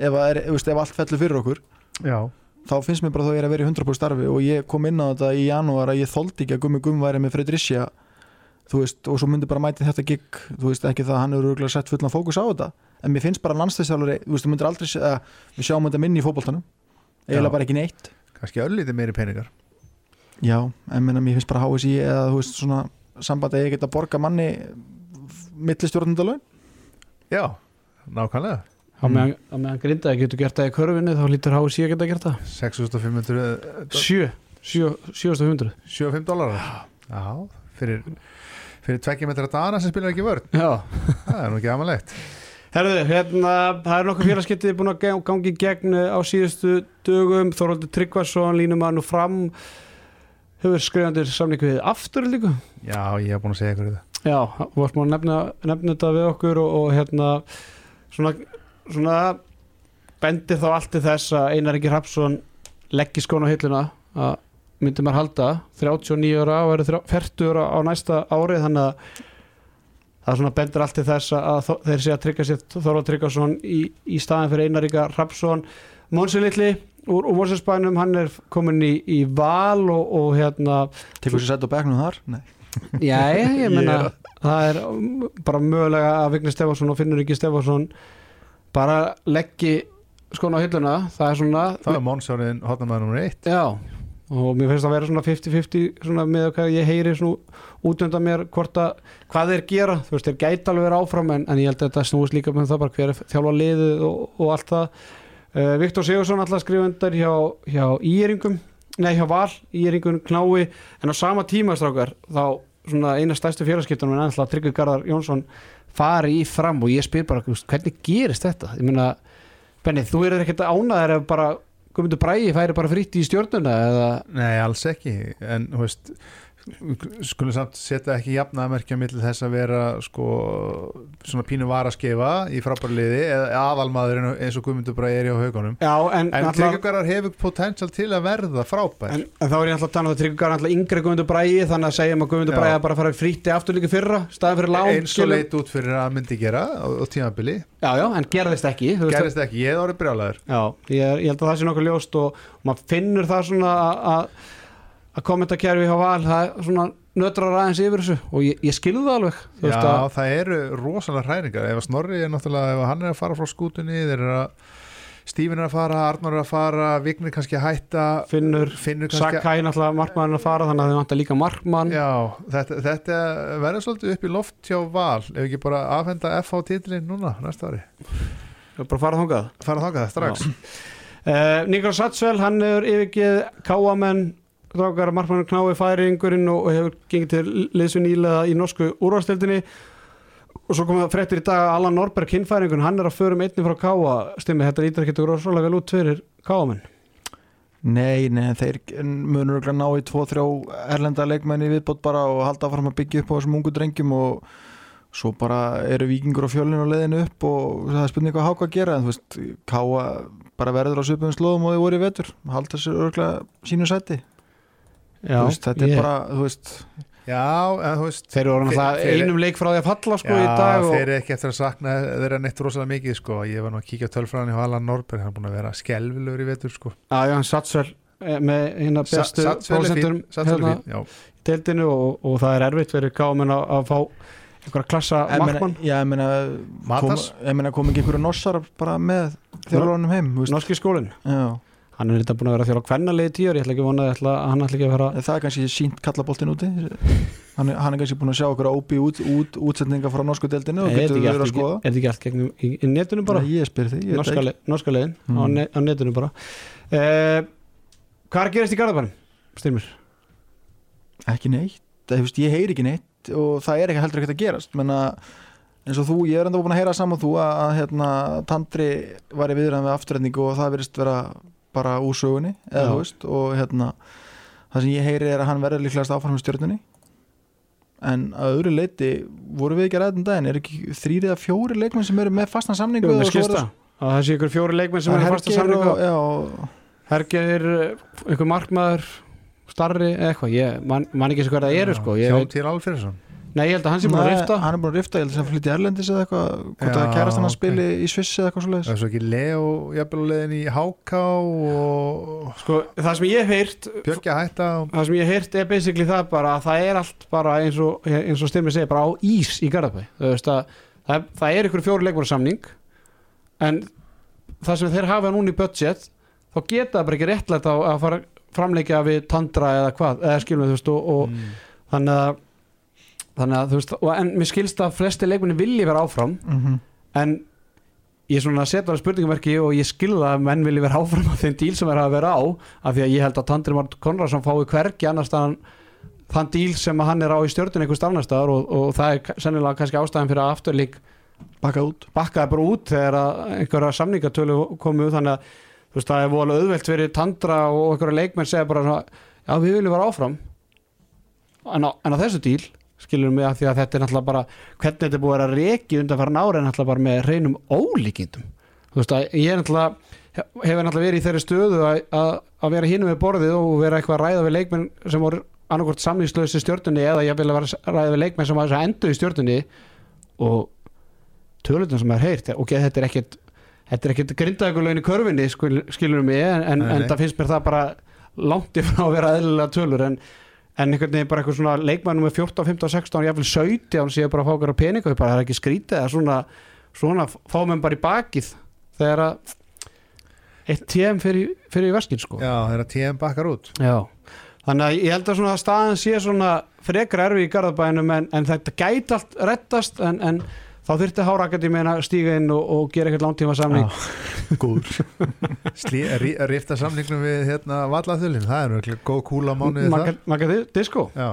S3: ef, að er, ef, ef allt fellur fyrir okkur
S2: Já,
S3: þá finnst mér bara þá ég er að vera í 100% starfi og ég kom inn á þetta í janúar að ég þóldi ekki að gummi gummi væri með Fredricia þú veist, og svo myndi bara mæti þetta gig þú veist, ekki það að hann eru örgulega sett fullan fókus á þetta en mér finnst bara landsliðsjálfari þú veist, þú myndir aldrei, sé- eða, við sjáum þetta minni í fótboltanum
S2: Já.
S3: eiginlega bara ekki neitt
S2: kannski öllítið meiri peningar
S3: Já, en minna, mér finnst bara HSI eða þú veist svona samband að ég get að borga manni millistjórnundalögn
S2: Já, nákvæmlega
S1: á meðan, á meðan grindaði getur gert það í körfinni þá lítur háið síðan geta gert það
S2: 6500
S1: sjö, sjö, sjösta hundru
S2: 75 dólarar Já, fyrir fyrir tvekkja metra dana sem spilar ekki vörn
S1: já
S2: það er nú ekki amalegt
S1: Herðu, hérna, það er nokkuð félagskiptið búin að gang- gangi í gegn eh, á síðustu dögum, Þorvaldur Tryggvason línum að nú fram hefur skrifandir samning við aftur líka
S2: Já, ég hef búin að segja ykkur þetta
S1: Já, þú varst múin að nefna, nefna þetta við okkur og, og hérna svona, svona bendir þá allt til þess að Einar Ingi Hrafsson leggir skóna á hilluna að myndi maður halda 39 ára og verður 40 ára á næsta ári þannig að það svona bendur allt til þess að- að Þó- þeir sé að tryggja sér Þorvald Tryggvason í, í staðin fyrir Einaríka Rapsson Mónsi Lilli úr, úr Mónsensbænum, hann er komin í, í val og, og hérna
S3: tekur sér sætt á bekknum þar Nei.
S1: Já, ég menna það er um, bara mögulega að Vigni Stefánsson og Finnur Ríki Stefánsson bara leggji skona á hilluna, það er svona
S2: Það er Mónsjónin hotnamaður nummer eitt
S1: Já, og mér finnst það að vera svona 50-50 svona með hvað ég heyri svona út undan mér hvort að hvað þeir gera, þú veist, þeir gæti alveg verið áfram en, en ég held að þetta snúist líka með það bara hver er þjálfa liðið og, og allt það uh, Viktor Sigursson alltaf skrifundar hjá, hjá íringum nei, hjá Val, íringum knái en á sama tíma strákar þá svona eina stærstu félagskiptunum en ennþá Tryggvi Garðar Jónsson fari í fram og ég spyr bara, þú veist, hvernig gerist þetta? Ég meina, Benni, þú er ekkert ánæður ef bara Guðmundur Bræði færi bara fritt í stjórnuna eða
S2: Nei, alls ekki en þú veist skulum samt setja ekki jafnaðmerkja mill þess að vera sko svona pínu varaskefa í frábærliði eða aðalmaðurinn eins og Guðmundur bara er hjá haugunum
S1: Já, en,
S2: En
S1: náttúrulega-
S2: Tryggjögarar hefur potential til að verða frábær
S1: en, en þá er ég alltaf að tala um það Tryggvi Garðar náttúrulega yngri Guðmundur Bræði þannig að segja um að Guðmundur
S2: Já.
S1: Bræði bara fara fritt í aftur líka í fyrra staðan fyrir lán
S2: eins og
S1: skilur-
S2: leit út fyrir að hann myndi gera á, á tímabili,
S1: Já, já, en gerðist ekki þú veist
S2: gerist ekki, ég hef orðið brjálæður
S1: Já, ég, er- ég held að það sé nokkuð ljóst og, og maður finnur það svona að- að að kommentakerfi hjá val það er svona nötrar aðeins yfir þessu og ég, ég skilði það alveg þú
S2: Já,
S1: veist að
S2: það eru rosalega hræringar ef að Snorri er náttúrulega, ef að hann er að fara frá skútunni þeir eru að Stífin er að fara, Arnur er að fara, Vignir kannski að hætta
S1: finnur
S2: Finnur kannski
S1: Sakai náttúrulega markmann að fara þannig að þau vantar líka markmann
S2: Já, þetta, þetta verður svolítið upp í loft hjá Val ef ekki bara afhenda FH titlinn núna næsta ári.
S1: bara fara þangað
S2: Fara þangað strax.
S1: Uh, Niklas Satsvel, hann hefur yfirgeð káamenn, drákar markmann knái færingurinn og, og hefur gengið til liðsvinn ílega í norsku úrvastildinni og svo komið fréttir í dag að Alan Norberg, hinnfæringun, hann er að förum einni frá káa, stimmi, þetta lítur ekkert rosalega vel út fyrir káamenn
S3: Nei, nei, þeir munur örugglega ná í 2-3 erlenda leikmenni viðbót bara og halda fram að byggja upp á þessum ungu drengjum og svo bara eru vikingur og fjölinn á leiðinu upp og það er spurning hvað háka að gera en þú veist, káa bara verður á söpum slóðum og þau voru í vetur halda sér örgulega sínu sæti
S1: Já,
S3: þú veist, þetta
S1: ég-
S3: er bara, þú veist
S2: Já, en þú veist,
S1: Þeir voru
S2: Þeir-
S1: náttúrulega
S2: þeir-
S1: einum leik frá því að falla sko í
S2: já,
S1: dag og
S2: þeir eru ekki eftir að sakna þeirra neitt rosalega mikið sko. Ég var nú að kíkja á tölfræðan hjá Alan Norberg, hann er búin að vera skelvilegur í vetur sko.
S1: já, já, Satsvel eh, með hérna
S2: Sa-
S1: bestu
S2: Satsvel er fín,
S1: prósentum
S2: Satsvel er
S1: hérna,
S2: fín, já.
S1: deildinu og, og það er erfitt fyrir káamenn að, að fá einhverja klassa
S3: ég meina-
S1: markmann
S3: Já, ég meina kom,
S2: Matas?
S3: ég meina kom ekki einhverju norsar bara með þjálfurunum heim, þú veist
S1: Norski skólinn
S3: Já,
S1: hann er þetta búin að vera að þjóla kvennalið í tíu ári, ég ætla ekki að vona að ætla, að hann ætla ekki að vera
S3: það er kannski sínt kallaboltin úti hann, er- hann er kannski búin að sjá okkur óbí út, út, útsendinga frá norsku deildinu og
S1: Nei, er
S3: getur
S1: þetta
S3: verið að
S1: ekki,
S3: skoða
S1: allt- er þetta ekki allt gegnum í, í netinu bara,
S3: Nei, ég spyr því, ég veit
S1: norska,
S3: ekki
S1: leið, norska leiðin á,
S3: Mm.
S1: ne, á netinu bara uh, hvað er að gerast í Garðabænum? Styrmir,
S3: ekki neitt, það, hefst, ég heyri ekki neitt og það er ekki heldur ekkert að gerast menna, eins og þú, ég er enda búin að heyra saman þú að, að hérna, Tandri var í viðræðan við afturrendingu og það verðist vera bara úr sögunni eða,
S1: Já.
S3: þú veist, og hérna það sem ég heyri er að hann verður líklegast áfram í stjórnunni en að öðru leiti voru við ekki að ræða um daginn er ekki þrýri eða fjóri leikmenn sem eru með fastna samningu
S1: Jú,
S3: og
S1: mér
S3: svo
S1: skilst
S3: eru-
S1: það að það sé ykkur fjóri leikmenn sem
S3: það
S1: er
S3: er
S1: fasta
S3: Hergeir
S1: samlingu
S3: og- já, og-
S1: Hergeir, eh, ykkur markmaður starri, eða eitthvað, ég man, man ekki sem hvað það eru sko, ég
S2: Já,
S1: veit,
S2: Hjálmtýr Alfreðsson.
S1: nei ég held að hann sé búin að
S3: Nei,
S1: rifta
S3: hann er búin að rifta, ég held að hann flytti Erlendis eða eitthvað, hvort
S2: Já,
S3: að kærast hann að
S2: ok.
S3: spili í Sviss eða eitthvað svo
S2: Það er svo ekki Leo, jafnvel á leiðin í HK og
S1: sko, það sem ég hef heyrt
S2: Björkja hætta og
S1: það sem ég heirt er basically það bara að það er allt bara eins og, eins og styrmið segir bara á ís í Garðabæ það, það, það, það er ykkur fjóri leikmur samning en það sem þeir hafa núna í budget þá geta það bara ekki réttlætt að, að fara framleikja við tandra eða hvað eða skilum við þú veist og,
S2: Mm.
S1: og þannig að þannig að þú veist og, en mér skilst að flesti leikmunni vilji vera áfram
S3: leiðis
S1: en ég svona setja alveg spurningumerki og ég skilða að menn vilji vera áfram af þeim díl sem er að vera á af því að ég held að Tandri Mart Konradsson fái hvergi annars þann, þann díl sem að hann er á í stjórnun einhvers annars staðar og, og það er ka- sennilega kannski ástæðan fyrir að afturlík
S3: Baka út
S1: bakkaði bara út þegar að einhverja samningatölu komu þannig að þú veist það er vola auðvelt fyrir Tandra og einhverja leikmenn segja bara svona, já við viljum vera áfram en á, en á þessu díl skilur mig að því að þetta er náttúrulega bara hvernig þetta er búið að vera reiki undan farin ára en náttúrulega bara með reynum ólíkindum þú veist að ég er náttúrulega hefur náttúrulega verið í þeirri stöðu að, að, að vera hinum við borðið og vera eitthvað að ræða við leikmenn sem voru annarkvort samlýslaus í stjórnunni eða ég vil að vera að ræða við leikmenn sem að endu í stjórnunni og tölutum sem er heyrt ok, þetta er ekkert þetta er ekkert grindaðugurlaun í körfinni skil, skilur mig, en, en,
S2: Nei, nei.
S1: en það finnst mér það bara langt yfir að vera eðlilega tölur en, en einhvern veginn bara eitthvað svona leikmannum með 14, 15, 16, jáfnvel 17 séu bara að fá okkar að peninga upp það er ekki skrítið að svona, svona fá menn bara í bakið þegar að eitt TM fyrir, fyrir í veskin sko
S2: Já, þegar TM bakkar út
S1: Já, þannig að ég held að svona staðan sé svona frekar erfi í Garðabænum en, en þetta gæti allt rettast en, en þá þyrfti Hárakadímin að stíga inn og, og gera eitthvað langtíma samning
S3: góður
S2: Slí, rí, Rifta samlingum við hérna vallathulin, það er nörgulega góð kúla mánuði það
S1: Maka þið, disco?
S2: Já.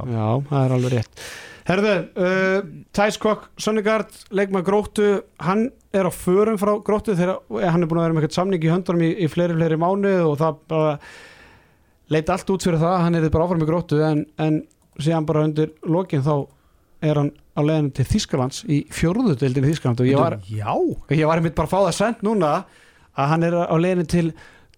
S1: það er alveg rétt Herðu, uh, Thijs Kokk, Sönnegard, leikmað Gróttu, hann er á förum frá Gróttu þegar eh, hann er búin að vera með eitthvað samning í höndunum í, í fleiri, fleiri mánuð og það bara leit allt út fyrir það, hann er bara áfram í Gróttu en, en síðan bara undir lokin þá er hann á leiðinu til Þískalands í fjórðu deildin í Þískaland og ég var,
S2: Já,
S1: ég var einmitt bara að fá það sent núna að hann er á leiðinu til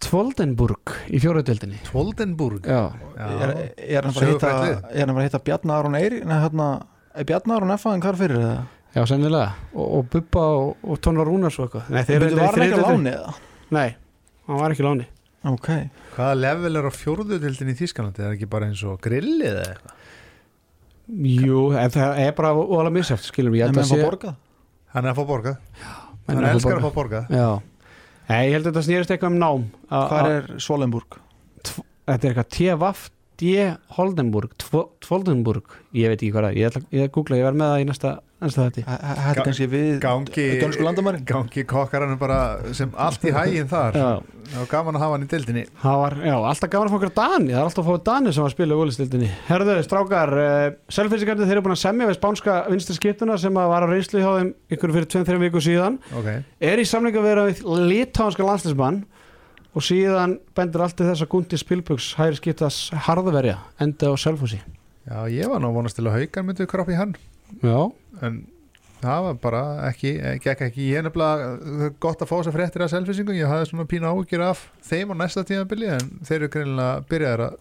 S1: Tvoldenburg í fjórðu deildinni
S2: Tvoldenburg
S1: Já,
S3: er,
S2: Já,
S3: er hann bara að hitta
S2: Sögufrætt
S3: er hann bara að hitta Bjarnar Arun Eiri nei, hérna, er Bjarnar Arun F.A.N. hvar fyrir það?
S1: Já, sennilega, og, og Bubba og, og Tónar Rúnars og eitthvað Nei,
S3: Þeir,
S1: eru-
S3: var hann ekki
S1: eru-
S3: að láni eða?
S1: Nei, hann var ekki á láni
S3: ok,
S2: Hvaða level er á fjórðutildin í Þískalandi? Er það ekki bara eins og grillið eða eitthvað?
S1: Jú, en það er bara óalega misjátt, skilum ég
S3: en
S1: held
S3: menn
S1: að
S3: fá
S1: sé-
S3: borgað
S2: Hann er að fá borgað,
S1: menn
S2: hann
S1: fá
S2: elskar að
S1: borga.
S2: fá borgað
S1: Já, Nei, ég held að þetta snýrist eitthvað um nám A-
S3: hvað
S1: a-
S3: er Svolenburg?
S1: Þetta er eitthvað TVAF D. Holdenburg, Tvo- Tvoldenburg Ég veit ekki hvað það, er. ég ætla ég ætla að googla, ég verð með það í næsta, næsta þetta
S3: þetta er
S2: Ga-
S3: kannski við
S2: Gangi,
S3: dönsku landamæri
S2: gangi kokkaranum bara sem allt í hæginn þar
S1: Já,
S2: Það var gaman að hafa hann í dildinni
S1: það var, já, alltaf gaman að fá okkur Dani Það er alltaf að fá Dani sem var að spila í úlistildinni Herðu, strákar, uh, selfinsikarnir þeir eru búin að semja við spánska vinstri skiptuna sem að var á reynslu hjá þeim ykkur fyrir 2-3 viku síðan
S2: Ok,
S1: er í samlinga að vera við litánskan landslismann og síðan bendur allt til þess að Gundi Spilbugs hægir skiptas harðverja enda á Selfossi
S2: já ég var nú að vonast til að haukar myndu kropp í hann
S1: Já,
S2: En það var bara ekki, gekk ekki Ég er nefnilega gott að fá þess að fréttir af selfisingu Ég hafði svona pína áhyggjur af þeim á næsta tíðanbili En þeir eru greinilega byrjaðar að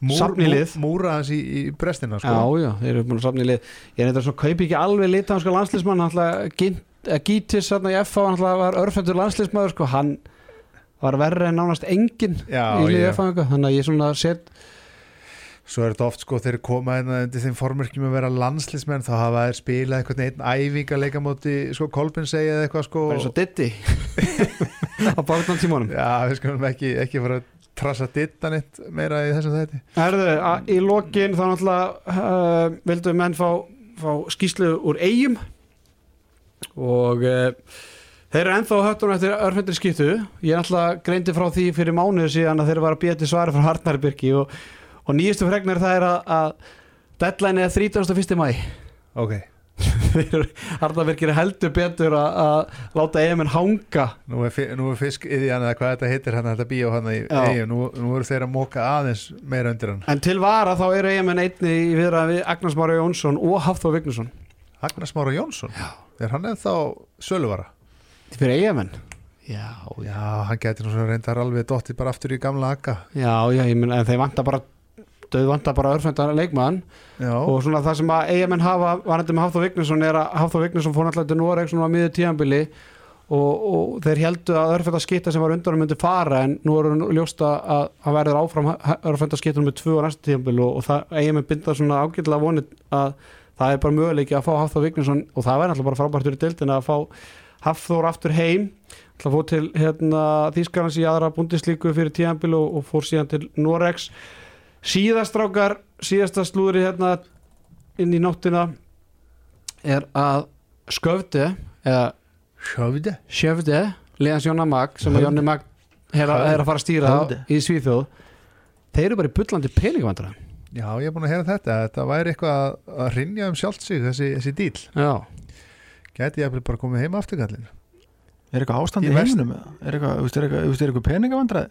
S2: múr,
S1: Safna í lið.
S2: múra hans í, í brestina
S1: já,
S2: sko.
S1: já, þeir eru búin að safna í lið ég er eitthvað svo kaupi ekki alveg litánskan landslismann hann ætla að eh, gítis þarna í FH hann ætla var örfendur landslismæður sko, hann var verri en nánast engin í liði
S2: já.
S1: FH eitthvað, þannig að ég svona set
S2: Svo er þetta oft sko þeir koma hérna undir þeim formörkjum að vera landslismenn þá hafa þeir spilað einhvern veginn æfingarleika móti sko Kolbin segja eða eitthvað sko
S1: bara eins og Diddy [laughs] á bátnum tímunum
S2: Já, við skulum ekki, ekki fara að trassa dittan eitt meira í þessum þætti
S1: Herðu, að- í lokin þá náttúrulega uh, vildum menn fá, fá skýslu úr eigum og uh, þeir eru ennþá höttunum eftir örfendri skýttu ég náttúrulega greindi frá því fyrir mánuðu síðan að þeir var að býja til svari frá Harnarbyrki og, og nýjustu fregnir það er að, að deadline er 31. [laughs] mæ
S2: Ok,
S1: Harnarbyrki er heldur betur að, að láta eiguminn hanga
S2: nú er, fi- nú er fisk yðjan eða hvað þetta heitir hann þetta bíó hann í
S1: Já.
S2: eigum nú, nú eru þeir að móka aðeins meira undir hann
S1: en til vara þá eru eiguminn einni í viðraði við Agnars Mára Jónsson og Hafþór Vignesson
S2: Agnars Mára Jónsson, Já. er hann ennþá söluvara?
S1: fyrir eiguminn Já,
S2: Já, hann gæti nú svona reyndar alveg dottið bara aftur í gamla akka
S1: Já, já, ég meina, en þeir vanta bara þau vanta bara örfendar leikmann
S2: Já,
S1: og svona það sem að eigamenn hafa varandi með Hafþór Vignesson er að Hafþór Vignesson fór náttúrulega til Noreg svona á miður tíðanbili og, og þeir heldu að örfendar skitta sem var undan myndi fara en nú eru ljósta að hann verður áfram örfendar skitta nummer 2 á næsta tíðanbili og, og það eigamenn binda svona ágætlega vonið að það er bara möguleiki að fá Hafþór Vignesson og það verður alltaf bara frábærtur í deildin að fá Hafþór aftur heim ætla að fór til hérna, Þýskarnas í aðra búndislíku fyrir tíðanbíl og, og fór síðan til Norex síðastrákar, síðasta slúðri hérna inn í nóttina er að Sköfde eða
S2: sjöfði
S1: Sjöfde Leðans Jónna Mag sem að Jónni Mag er, að- er að fara að stýra
S3: Höfði.
S1: í Svíþjóð þeir eru bara í bullandi peningvandra
S2: Já, ég er búin að heyra þetta, þetta væri eitthvað að, að rinja um sjálft sig þessi, þessi díl
S1: já,
S2: Gæti ég að bara komið heima aftur kallin
S3: er eitthvað ástand
S2: Í
S3: í
S2: vest-
S3: heiminum eða? er eitthvað, þú veist, er eitthvað, þú veist, er eitthvað peningavandræði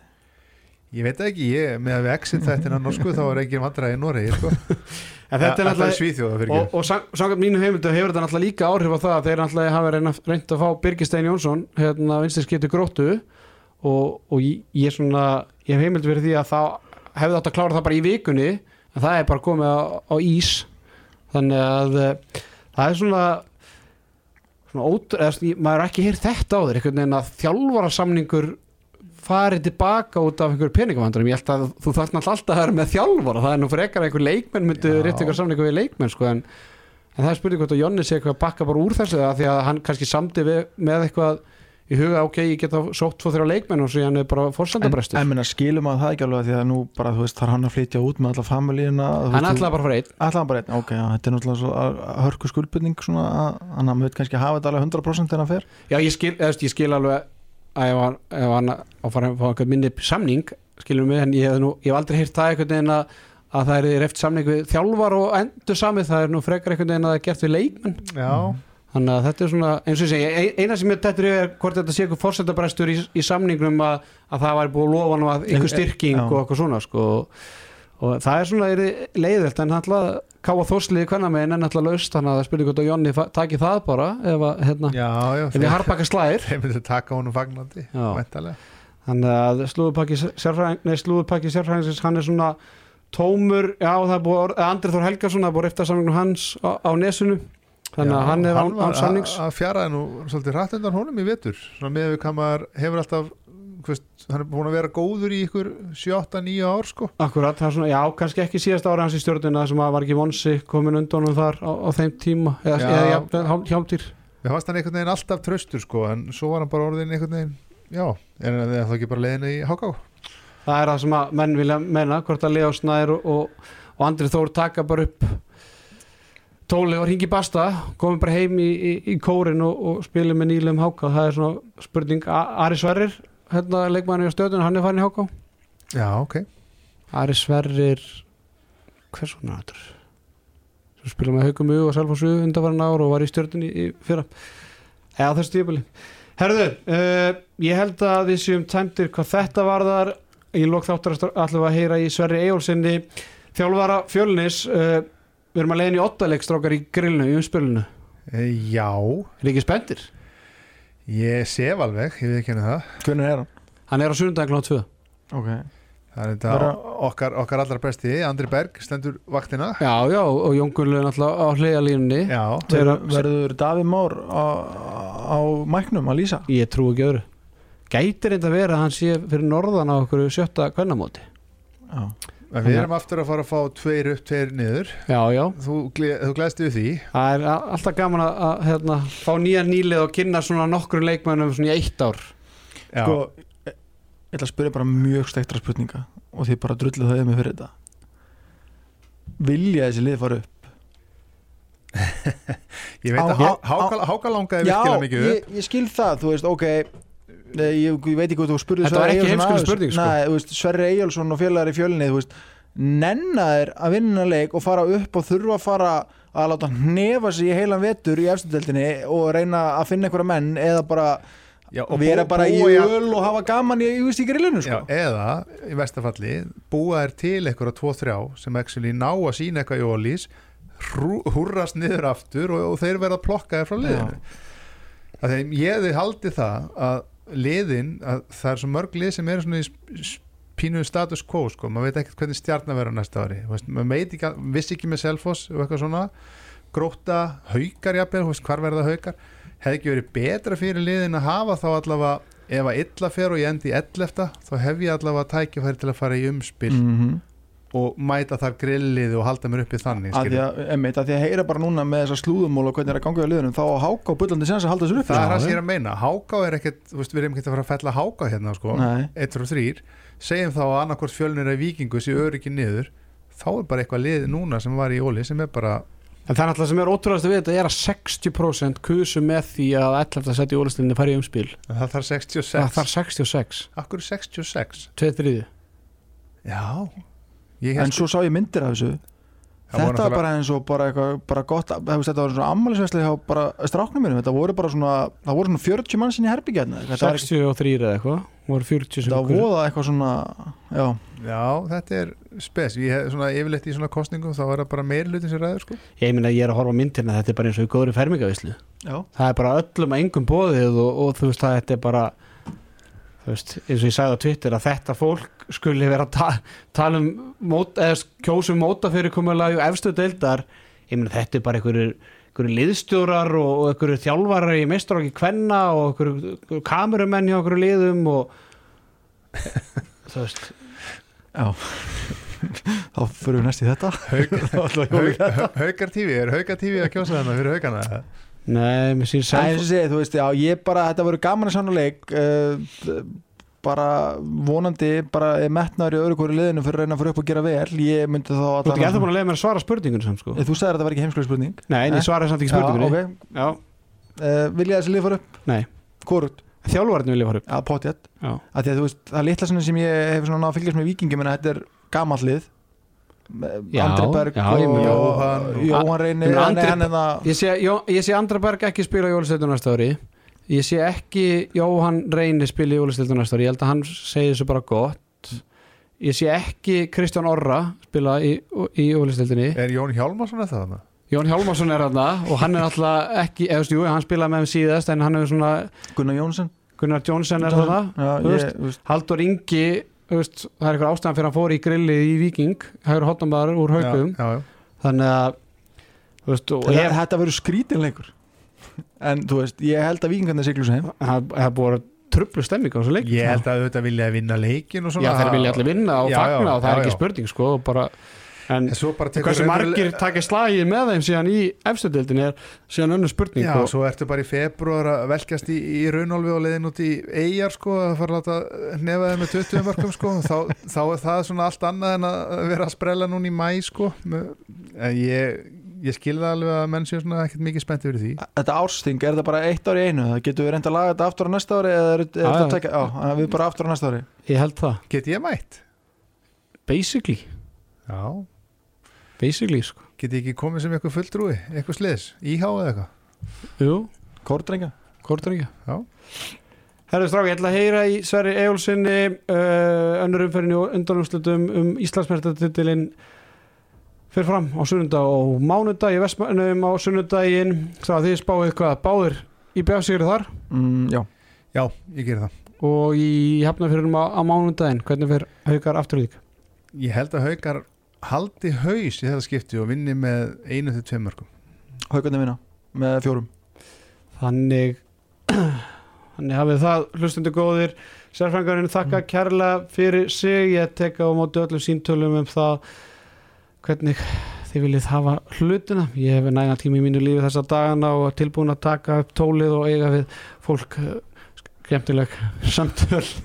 S2: Ég veit það ekki, ég, með að við exit þættina norsku þá er ekki vandræði í Noregi sko.
S1: en þetta er
S2: alltaf í
S1: náttúrulega
S2: Svíþjóða fyrir
S1: og, og sang- samkvæmt mínu heimildu hefur þetta náttúrulega líka áhrif á það að þeir náttúrulega hafa reyna- reynt að fá Birgistein Jónsson hérna vinstir skiptu gróttu og, og ég, ég svona ég hef heimildu verið því að það hefði átt að klára það bara í vikunni en það er bara komið á, á ís þannig að eh, það er svona svona ótr, eða, svona, ég- maður er ekki heyrt þetta áður einhvern veginn að þjálfarasamningur farið tilbaka út af einhverjum peningamandrum ég held að þú þarf náttúrulega alltaf að vera með þjálfara það er nú frekar að einhver leikmenn myndu
S2: Já.
S1: rétt einhver samningu við leikmenn sko, en, en það er spurning hvort að Jonni sé eitthvað að bakka bara úr þessu af því að hann kannski samdi við, með eitthvað í huga ok, ég get þá sótt tvo þrjá leikmenn og svo hann er bara
S3: en,
S1: forsendabrestur
S3: en
S1: en,
S3: minna skilum að það ekki alveg því að nú bara þú veist þarf hann að flytja út með alla familíuna þú
S1: hann
S3: veist,
S1: ætlaði bara að fara einn
S3: Ætlaði hann bara einn, ok, já, þetta er náttúrulega svo að- að hörku skuldbyrning svona að þannig að hann veit kannski að hafa þetta alveg 100% þegar hann fer
S1: Já, ég skil, eða, þú veist, ég skil alveg að ef hann, ef hann á fara að fá einhvern minni samning, skilum við, en ég hef, nú, ég hef aldrei heyrt það einhvern veginn að, að það er reft samning við þjálfar og endur samið, það er nú frekar einhvern veginn að það er gert við leikmenn,
S2: já,
S1: þannig að þetta er svona, eins og ég segi, ein- eina sem ég dættur er hvort þetta sé eitthvað fórsetabræstur í, í samningnum að, að það væri búið að lofa hann að
S2: e,
S1: einhver styrking
S3: Já.
S1: og eitthvað svona, sko, og það er svona er leiðilt, en náttúrulega káa þórsliði hvernig með en náttúrulega laust, þannig að það spurði hvort að Jonni fa- taki það bara, ef að, hérna,
S2: já, já
S1: ef ég harpaka slæðir
S2: þeir myndu taka honum fagnandi
S1: Já.
S2: væntanlega.
S1: þannig að slúðupakki sérfræðing, nei, slúðupakki sérfræðingsins hann er svona tómur, já það er búið að Andri Þór Helgason, það er búið að reyfta samningnum hans á, á nesunu, þannig
S2: Já,
S1: að hann er án,
S2: var
S1: án samnings
S2: að- að fjaraði nú svolítið rætt undan honum í vetur svona með við kamar hefur alltaf þú veist, hann er búin að vera góður í ykkur 7-9 ár sko
S1: akkurat, það er svona, já kannski ekki síðast ára hans í stjórnuna sem að var ekki vonsi komin undan honum þar á, á þeim tíma eða,
S2: Já.
S1: eða jafnvel hjá- hjámdýr
S2: við hafast hann einhvern veginn alltaf tröstur sko en svo var hann bara orðin einhvern veginn já, en það er þá ekki bara leiðinu í háká
S1: það er það sem að menn vilja menna hvort að Leo Snær og, og, og Andri Þór taka bara upp tóli og ringi basta komum bara heim í, í, í kórin og, og spilum með nýlum háka það er svona spurning A Ari Sverrir hérna leikmannu í stöðun hann er farin í háka
S2: já, ok,
S1: Ari Sverrir hvers hún er þetta sem spilum með haukum og Salfossu undanvarðan ár og var í stjörnun í, í fyrra eða þessu tíðbili Herðu, uh, ég held að við séum tæmdir hvað þetta varðar í lók þáttar allavega að heyra í Sverri Eyjólfsinni þjálfara fjölnis uh, við erum að leiðin í ottaleg strákar í grillinu, í umspilinu
S2: e, já
S1: er ekki spenntir?
S2: ég sef alveg, ég veit ekki henni það
S3: Hvernig er hann?
S1: Hann er á sunnudaginn á 2
S3: Ok,
S2: það er þetta
S3: Bara-
S2: okkar, okkar allra besti Andri Berg stendur vaktina
S1: Já, já, og Jón Gunnlaug náttúrulega á hliðalínunni
S2: já,
S1: Þeirra-
S3: Verður- verður Davíð Már á, á mæknum að lýsa?
S1: Ég trú ekki öðru Gætir einnig að vera að hann sé fyrir norðan á okkur sjötta kvennamóti
S3: Já,
S2: en við erum aftur að fara að fá tveir upp, tveir niður
S1: Já, já,
S2: þú, gle- þú glæðst við því
S1: það er a- alltaf gaman að, að hérna, fá nýja nýlið og kynna svona nokkru leikmennum svona í eitt ár
S2: já,
S3: sko, ég ég ætla að spyrja bara mjög stektra spurninga og því bara drullu það yfir mig fyrir þetta Vilja þessi lið fara upp?
S2: ég veit
S3: Á-
S2: að
S3: á-
S2: Há- Háka- háka langaði virkilega mikið upp
S3: ég, ég skil það, þú veist, ok Nei, ég, ég veit ekki hvað þú spurði
S1: Þetta var
S3: Sverri
S1: ekki
S3: Eyjólfsson
S1: heimskuleg
S3: aðeins.
S1: spurning, sko.
S3: Nei, þú veist, Sverri Eyjálsson og félagar í fjölinni þú veist, nenna þér að vinna leik og fara upp og þurfa að fara að láta hnefa sig í heilan vetur í efstöldeldinni og reyna að finna einhverja menn eða bara
S2: Já, og
S3: vera
S2: bú-
S3: bara í
S2: búa-
S3: öl og hafa gaman í, í, í grillinu,
S2: Já,
S3: sko
S2: eða í vestafalli búa þær til einhverja tvo þrjá sem actually ná að sína eitthvað í ólís húrrast niður aftur og, og þeir verða að plokka þér frá liðinu að þeim ég hefði haldið það að liðin, að það er svo mörg lið sem eru svona í sp- sp- pínu status quo sko, maður veit ekkert hvernig stjarnar verður á næsta ári, Þú veist, maður veit ekki, að- vissi ekki með Selfoss og eitthvað svona gróta, haukar jafnvel, þú veist, hvar verða haukar hefði ekki verið betra fyrir liðin að hafa þá allavega, ef að illa fer og ég endi í 11, þá hef ég allavega tækifæri til að fara í umspil
S3: mm -hmm.
S2: og mæta það grillið og halda mér upp í þannig
S3: að því
S2: skilur.
S3: að, einmitt, að því að heyra bara núna með þessa slúðumól og hvernig er að ganga í liðunum þá á háka og bullandi sens að halda þessu upp
S2: það er það
S3: sko.
S2: sem ég er að meina, háká er ekkert þú veist, við erum ekkert að fara að fella háká hérna sko.
S3: Nei,
S2: eitt frá þrýr, segjum þá að annarkvort fjölnir eða vikingu sé öryggi niður þá er bara eitthvað lið núna sem var í óli sem er bara,
S1: En það er alltaf sem er ótrúðast að við þetta er að 60% kusu með því að 11. seti í ólistinni fari í umspil
S2: það þarf 66
S1: Það þarf 66,
S2: akkur 66
S1: tveið þriði
S2: já, ég
S3: en svo sá ég myndir af þessu
S2: Það voru
S3: Þetta var
S2: náttúrulega-
S3: bara eins og bara, eitthvað, bara gott þú veist, Þetta var svona ammælisvesli hjá bara stráknum mínum Þetta voru bara svona, það voru svona 40 mann sinni herbyggjarni hérna. Þetta var ekki,
S1: 63 eða eitthvað, voru 40 sem
S3: þetta var
S1: kusu.
S3: voða eitthvað svona Já,
S2: Já, þetta er spes Ég hef svona yfirleitt í svona kostningum þá er það bara meiri hlutin sem ræður sko
S1: Ég meina ég er að horfa á myndina, þetta er bara eins og í góðri fermingavislu
S3: já
S1: það er bara öllum að engum bóðið og, og þú veist það þetta er bara þú veist, eins og ég sagði á Twitter að þetta fólk skuli vera að ta tala um mót, eða kjósum mótafyrirkomulega og efstu deildar ég meina þetta er bara einhverjir einhverjir einhverju liðstjórar og, og einhverju þjálfarar í meistarokki kvenna og einhverju einhverju kamerumenn hjá einhverju liðum og [laughs] þú veist
S3: þá förum við næst í þetta
S2: [laughs] Hauk- Haukar TV, er Haukar TV að kjósa þarna fyrir haukana?
S1: Nei, mér sýr
S3: Það er
S1: self
S3: eins og segið, þú veist, já, ég bara, þetta voru gaman að sána leik uh, bara vonandi, bara er metnaður í öðru hverju liðinu fyrir að reyna að fara upp og gera vel ég myndi þá
S1: Þú ert ekki eftir búin að leiða mér að svara spurningun samt sko
S3: Eh, Þú sagðir að þetta var ekki heimskulega spurning
S1: Nei, en
S3: Nei.
S1: ég svaraði samt ekki spurningunni
S3: Já,
S1: Já,
S3: ok, uh, vilja þessi lið fara upp?
S1: Nei.
S3: Hvorut?
S1: þjálfarinn vil ég fara upp
S3: Já, potjætt
S1: Já,
S3: að því að þú veist, það litla svona sem ég hef svona náð að fylgjast með vikingum en að þetta er gamall lið
S1: Já,
S3: Andri Berg
S1: já, ég
S3: og
S1: meina-
S2: Jóhann
S3: og-
S2: og-
S3: Jóhann
S1: Ég
S3: Reynir
S1: meina,
S3: Nei,
S1: Andri-
S3: hann er það
S1: Ég sé, Jó- ég sé Andra Berg ekki spila í Jólastildu næsta ári Ég sé ekki Jóhann Reyni spila í Jólastildu næsta ári Ég held að hann segi þessu bara gott Ég sé ekki Kristján Orra spila í, í Jólastildinni
S2: Er Jón Hjálmarsson eftir þarna?
S1: Jón Hjálmarsson er þarna og hann er alltaf ekki eða þú veist, jú, hann spilaði með þeim síðast en hann er svona
S3: Gunnar Jónsson
S1: Gunnar Jónsson er þarna
S3: Já,
S1: þú
S3: ég,
S1: veist.
S3: þú veist,
S1: Haldur Ingi þú veist, það er eitthvað ástæðan fyrir hann fór í grillið í Viking hægur hotnambar úr haukum
S2: Já, já, já.
S1: þannig að þú veist, og
S3: þetta
S1: ég,
S3: þetta verður skrítinleikur en þú veist, ég held að vikingarnir siglu svo heim
S1: það það er búið að trublu stemming á þessu leik
S2: Ég held að þetta vilja að vinna leikin og svona
S1: Já, þeir vilja allir vinna og
S2: Já,
S1: fagna
S2: já,
S1: og það
S2: já,
S1: er ekki
S2: já.
S1: spurning sko, og bara, en
S2: En svo bara tekur
S1: hversu
S2: raunveruleg-
S1: margir taka slagið með þeim síðan í efstudildin er síðan önnur spurning
S2: Já,
S1: og,
S2: svo ertu bara í februar að velkjast í, í raunálfi og leiðin út í eigjar sko, að fara að láta nefa þeim með 20 mörgum sko, þá, þá er það svona allt annað en að vera að sprella núna í mæ sko, en ég, ég skilða alveg að menn séu svona ekkert mikið spennt yfir því.
S3: Þetta ársting, er það bara eitt ár í einu? Það getur við reynda að laga þetta aftur á næsta ári eða er, er
S1: Já,
S3: þetta
S1: já.
S3: tekja, já, þannig að við bara aftur á næsta ári
S1: ég held það,
S2: Get ég mætt?
S1: basically
S2: Já.
S1: basically sko,
S2: Get ég ekki komið sem eitthvað fulltrúi, eitthvað sliðis, íhá eða eitthvað?
S1: jú,
S3: Kordrengja?
S1: hvort er ekki
S2: Já.
S1: Herðu strák, ég ætla að heyra í Sverri Ejólfsinni uh, önnur umferðin og undanúslutum um Íslandsmertatitilinn fyrir fram á sunnunda og mánudag í Vestmannum á sunnundaginn svo að þið spáið hvað báðir í bjásigur þar
S3: Mm, já,
S2: Já, ég ger það.
S1: og í hefnafyrirum á, á mánundaginn hvernig fer haukar afturlík
S2: Ég held að haukar haldi haus í þetta skipti og vinni með einu til tveim mörgum.
S3: haugarnir vinna með fjórum
S1: þannig [clears throat] þannig hafið það hlustundu góðir sérfræðingarinn þakka kærlega fyrir sig ég tek á móti öllum síntölum um það hvernig þið viljið hafa hlutina ég hef nægna tíma í mínu lífi þessa dagana og er tilbúin að taka upp tólið og eiga við fólk eh, skemmtileg samtöl [laughs]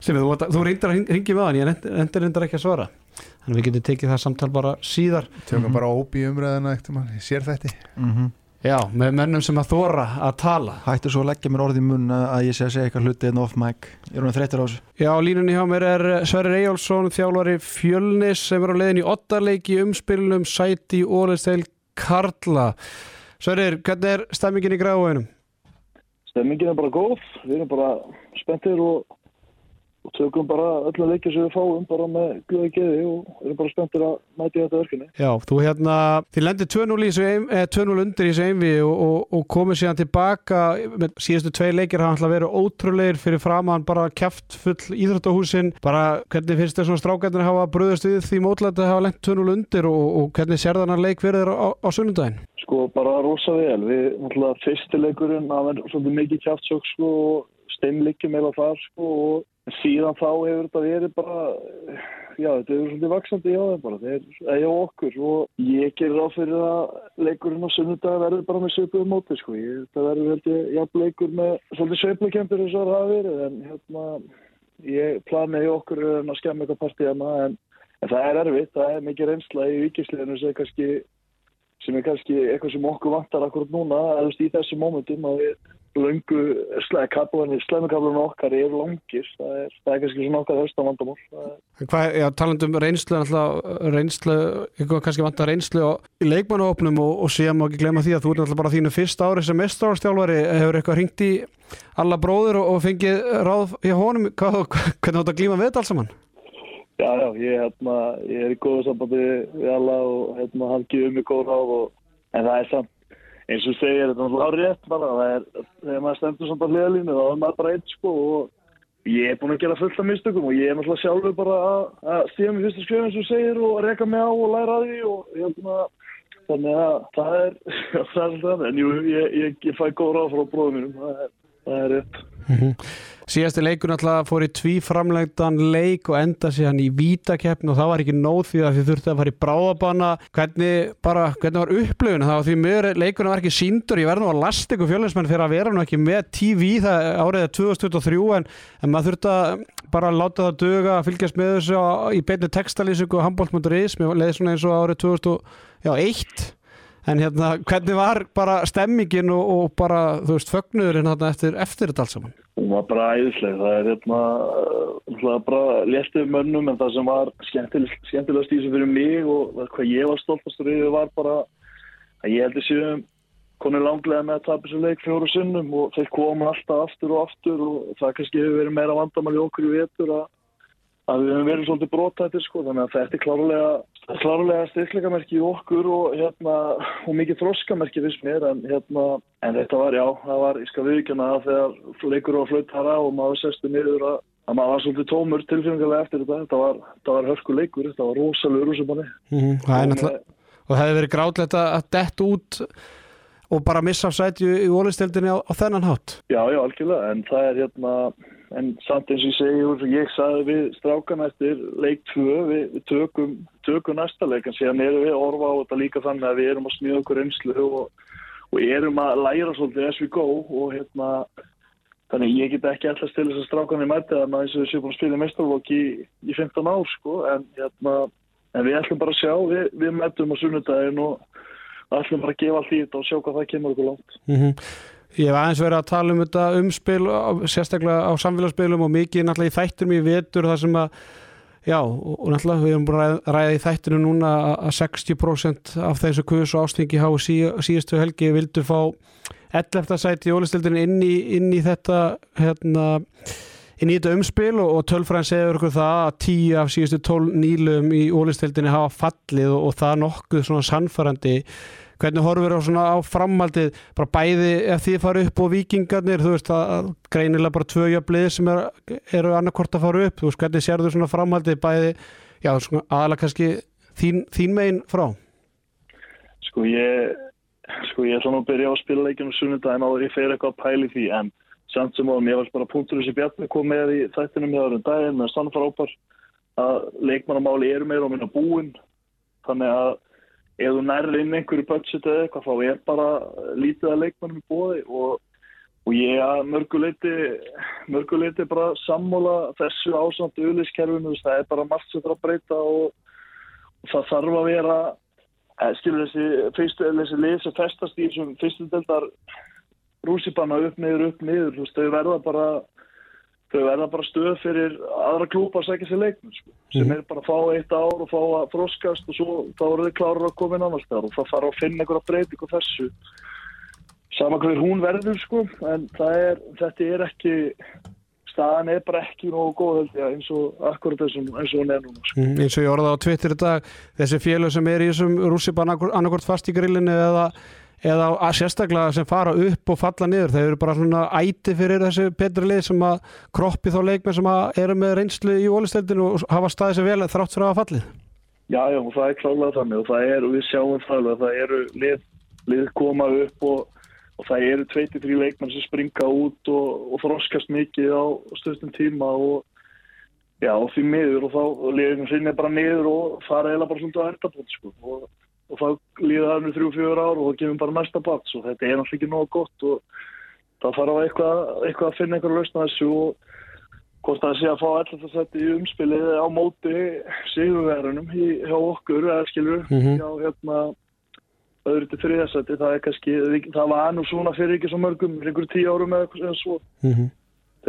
S1: sem þú, þú reyndar að ringi með hann ég reyndar reyndar ekki að svara þannig við getum tekið það samtal bara síðar
S2: Tökum
S3: Mhm.
S2: bara óp í umræðina eftir mann, ég sér þetta.
S3: mm
S1: Já, með mönnum sem að þóra að tala
S3: Hættu svo að leggja mér orð í mun að að ég sé að segja eitthvað hluti en off mic Ég er hún þreyttur á þessu
S1: Já, á línunni hjá mér er Sverrir Eyjálsson, þjálfari Fjölnis sem er á leiðin í ottarleiki umspilunum sæti í Ólisteil Karla Sverrir, hvernig er stemmingin í gráðunum?
S4: Stemmingin er bara góð, við erum bara spenntir og, og tökum bara öllu leikir sem við fáum bara með glöðu geði og erum bara spenntir að mæti þetta verkefni.
S1: Já, þú hérna, þið lendir 2-0 í þessu ein- eh, 2-0 undir í þessu einvi og, og, og komið síðan tilbaka með síðustu tvei leikir hafa alltaf verið ótrúleir fyrir framann bara kæft full íþróttahúsin bara hvernig finnst þér svona strákarnir hafa bröðust við því mótlæti að hafa lengt 2-0 undir og, og hvernig sér þannig leik fyrir þér á, á sunnundaginn?
S4: Sko bara rosa vel, við náttúrulega fyrstileikurinn að vera svolítið mikið kjáftsök sko og steinleikjum eða þar sko og síðan þá hefur þetta verið bara, já þetta hefur svolítið vaksandi hjá þeim bara, þeir, eða hjá okkur og ég gerir ráð fyrir að leikurinn á sunnudag verður bara með svipuðu móti sko, ég, þetta verður held ég jafn leikur með svolítið sveiflukempir eins og það hafa verið en hérna ég planaði hjá okkur en að skemmi eitthvað partíð hana en, en það er erfitt, það er mikið reynsla í vikisliðinu sem kannski sem er kannski eitthvað sem okkur vantar akkurat núna, eða þú veist, í þessu momentum að við löngu slæmikablanir, slæmikablanir okkar eru langir það er, það er kannski svona okkar höfsta vandamál það er
S1: En Hvað, já, talandum reynslu, alltaf, reynslu, eitthvað kannski vantar reynslu á- í leikmannaopnum og, og síðan má ekki glema því að þú ert alltaf bara á þínu fyrsta ári sem mestráðstjálfari, hefur eitthvað hringt í alla bróður og, og fengið ráð hjá honum, hvað, [laughs] hvernig þú átt að glíma við þetta alls saman?
S4: Já, já, ég, hérna, ég er í góðu sambandi við alla og hérna, hann gefur mig góð ráð og, en það er samt, eins og þú segir, þetta er náttúrulega rétt bara, það er, þegar maður stendur samt á hliðalínu, þá er maður bara einn sko og ég er búin að gera fullt af mistökum og ég er náttúrulega sjálfur bara að- að stíða mig fyrsta skrifin eins og þú segir og reka mig á og læra að því og hérna, þannig að það er [laughs] það er það, en jú, ég, ég, ég fæ góð ráð frá bróðum mínum, það er, það er rétt
S1: Síðasti leikur náttúrulega fór í tví framlegdan leik og enda síðan í vítakeppn og það var ekki nóð því að þið þurfti að fara í bráðabana hvernig, bara, hvernig var upplöfun það var því mjög leikurinn var ekki síndur ég verði nú að lasta ykkur fjölinnsmenn fyrir að vera nú ekki með TV það árið er 2023 en, en maður þurfti að bara láta það duga að fylgjast með þessu á- í beinu textalýsingu og handbólt.is mér leiði svona eins og árið 2001 en hérna hvernig var bara stemmingin og, og bara þú veist fögnuðurinn þarna eftir, eftir þetta allt saman
S4: Hún var bara æðisleg, það er hérna, það er bara léttið mönnum en það sem var skemmtileg, skemmtilegast í þessu fyrir mig og hvað ég var stoltastur yfir var bara að ég heldur séum konur langlega með að tapa þessu leik fjóru sinnum og þeir koma alltaf aftur og aftur og það kannski hefur verið meira vandamál í okkur í vetur að, að við höfum verið svolítið brotættir sko þannig að þetta er klárlega, klárlega styrkleikamerki í okkur og hérna og mikið þroskamerki fyrst mér en hérna en þetta var já, það var ég skal viðkjöna að þegar leikur og flaut þar á og maður sestu niður að, að maður var svolítið tómur tilfengilega eftir þetta þetta var, þetta var hörku leikur, þetta var rosalegur sem manni
S1: Mm, það er
S4: Og
S1: náttúrulega, og það hefði verið grátlegt að að dett út og bara missa af sæti í ólistildinni á, á þennan hátt.
S4: Já, já, algjörlega, en það er hérna, en samt eins og ég segi, og ég sagði við strákan eftir leik 2, við, við tökum, tökum næsta leik, en síðan erum við að orfa á þetta líka þannig að við erum að smíða okkur einslu og, og erum að læra svolítið as we go og hérna, þannig ég get ekki alltaf til þess að strákan í mæti þannig að eins og við séum búin að spila mestarlokk í, í 15 ár, sko, en hérna, en við ætlum bara að sjá, við, við mætum á sunnudaginn og ætlum bara að gefa allt í þetta og sjá hvað það kemur okkur langt.
S1: Ég hef aðeins verið að tala um þetta umspil, á, sérstaklega á samfélagsspilum og mikið náttúrulega í þættinum í vetur þar sem að, já, og og náttúrulega við erum búin að ræða- ræða í þættinu núna að- að 60% af þessu kus og ástingi há síðustu helgi vildu fá 11. sæti í ólistildinni inn í, inn í þetta, hérna, inn í þetta umspil og, og tölfræðin segir okkur það að tíu af síðustu tól nýlum í ólistildinni hafa fallið og, og það nokkuð svona sannfærandi hvernig horfur á svona á framhaldið bara bæði ef þið fara upp og vikingarnir þú veist að að greinilega bara tvö jöfnlið sem er, eru annarkort að fara upp þú veist hvernig sérðu svona framhaldið bæði já svona aðalega kannski þín, þín megin frá
S4: Sko ég, sko ég ætla nú að byrja á að spila leikinu sunnudaginn áður ég fer eitthvað að pæli því en samt sem áðum ég var bara punktur þessi bjarni kom með í þættinum hjá öðrum daginn með sannfrápar að leikmannamáli eru meira á minna búin þannig að ef þú nærri inn einhverju budget eða eitthvað þá er bara lítið að leikmannum í bóði og, og ég að mörguleiti mörguleiti bara sammála þessu ásamt auðlýskerfinu það er bara margt sem þarf að breyta og það þarf að vera Eh, skilur þessi, fyrstu, eða þessi lið sem festast í þessum fyrstu deldar rússipanna upp niður, upp niður þú veist, þau verða bara þau verða bara stöð fyrir aðra klúpa að segja sér leikmenn sko, sem er bara að fá eitt ár og fá að þroskast og svo þá eru þau klárar að koma inn annars þar og það fara að finna einhverja breyting á þessu sama hver hún verður sko en það er, þetta er ekki staðan er bara ekki nógu góð held ég eins og akkurat þessum eins og hún er núna sko.
S1: Mm, eins og ég orðaði á Twitter í dag þessi félög sem er í þessum rússipan annarkort fast í grillinu eða, eða að sérstaklega sem fara upp og falla niður þeir eru bara svona æti fyrir þessu betri lið sem að kroppi þá leikmenn sem að eru með reynslu í ólisteldinu og hafa staðið sér vel þrátt fyrir að hafa fallið
S4: Já, já, og það er klálega þannig og það er, og við sjáum það alveg, að það eru lið, lið koma upp og, og það eru 23 leikmenn sem springa út og, og þroskast mikið á stöðstum tíma og já, og því miður og þá liðin sinni bara niður og fara eða bara svona að ertabótt, sko og, og þá líða það með 3-4 ár og þá gefum bara næsta bats og þetta er náttúrulega ekki nóg gott og það fara á eitthvað, eitthvað að finna einhverja lausna þessu og hvort það sé að fá alltaf að setja í umspilið á móti sigurverðunum í- hjá okkur eða skilur
S1: Mhm.
S4: hjá hérna öðru til þriðasætti, það er kannski það var nú svona fyrir ekki svo mörgum fyrir einhverjum tíu árum eða eitthvað eða svo
S1: mm -hmm.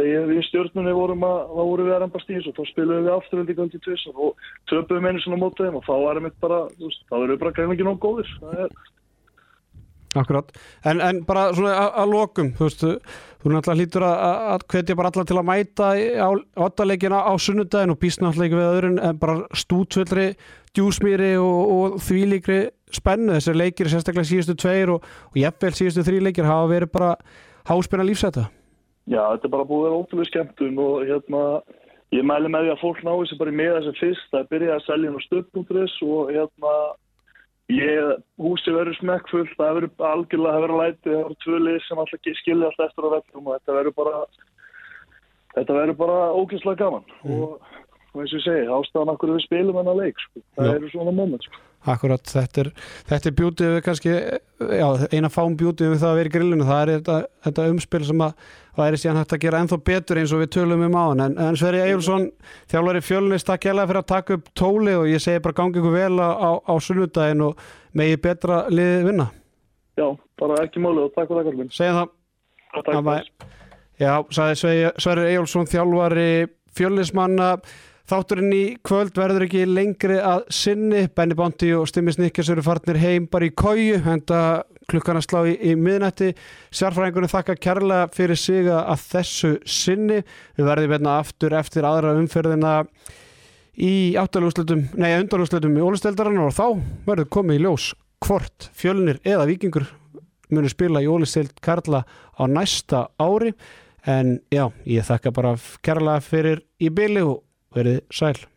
S4: þegar við í stjórnunni vorum að þá vorum við að reymbast í þessu, þá spilum við aftur undir kvöldi tvist og töpum einu svona mótið þeim og þá erum við bara, þú veist, þá erum við bara gæmlega ekki nóg góðir, það er
S1: Akkurat, en, en bara svona að- að lokum, þú veist, þú- þú náttúrulega hlýtur að, að- að hvetja bara alla til að mæta í- á ottalegin á, á sunnudagin og býst náttúrulega ekki við öðrun en bara stútvöldri, djúsmýri og, og þvílíkri spennu þessir leikir, sérstaklega síðustu tveir og, og jafnvel síðustu þrý leikir hafa verið bara háspenna lífsæta.
S4: Já, þetta er bara búið að vera ótrúlega skemmtun og hérna, ég mæli með því að fólk náðu sér bara í með þessi fyrst, það er byrjað að selja inn á stöpp.is og hérna, Ég, húsi verður smekkfull, það verður algjörlega að vera læti, það verður tvölið sem alltaf skilja alltaf eftir á vellum og þetta verður bara, þetta verður bara ógæslega gaman
S1: Mm.
S4: og, og eins og ég segi, ástæðan akkur við spilum hennar leik, sko. það
S1: Já.
S4: eru svona moment, sko.
S1: Akkurat, þetta er, þetta er bjútið við kannski, já, eina fám bjútið við það að vera í grillinu, það er þetta, þetta umspil sem að það er síðan hægt að gera ennþá betur eins og við tölum um á hann, en, en Sverri Egilson þjálfari fjölunist, takk hella fyrir að taka upp tóli og ég segi bara gangi ykkur vel á, á, á sunnudaginn og megi betra liðið vinna,
S4: Já, bara ekki málið og takk fyrir það, Karlin.
S1: segja það
S4: Takk
S1: Bye-bye. Já, sagði Sve- Sverrir Eyjólfsson þjálfari fjölnismanna Þátturinn í kvöld verður ekki lengri að sinni Benny Bondi og Stimmi Snikkers eru farnir heim bara í kóju henda klukkan að slá í, í miðnætti Sjarfræðingunni þakka kærlega fyrir sig að að þessu sinni Við verðum hérna aftur eftir aðra umferðina í áttalúslutum, nei undanúslutum í ólisteldarann og þá verður komið í ljós hvort fjölnir eða vikingur munu spila í ólisteld Karla á næsta ári en já, ég þakka bara kærlega fyrir í byli og verið sæl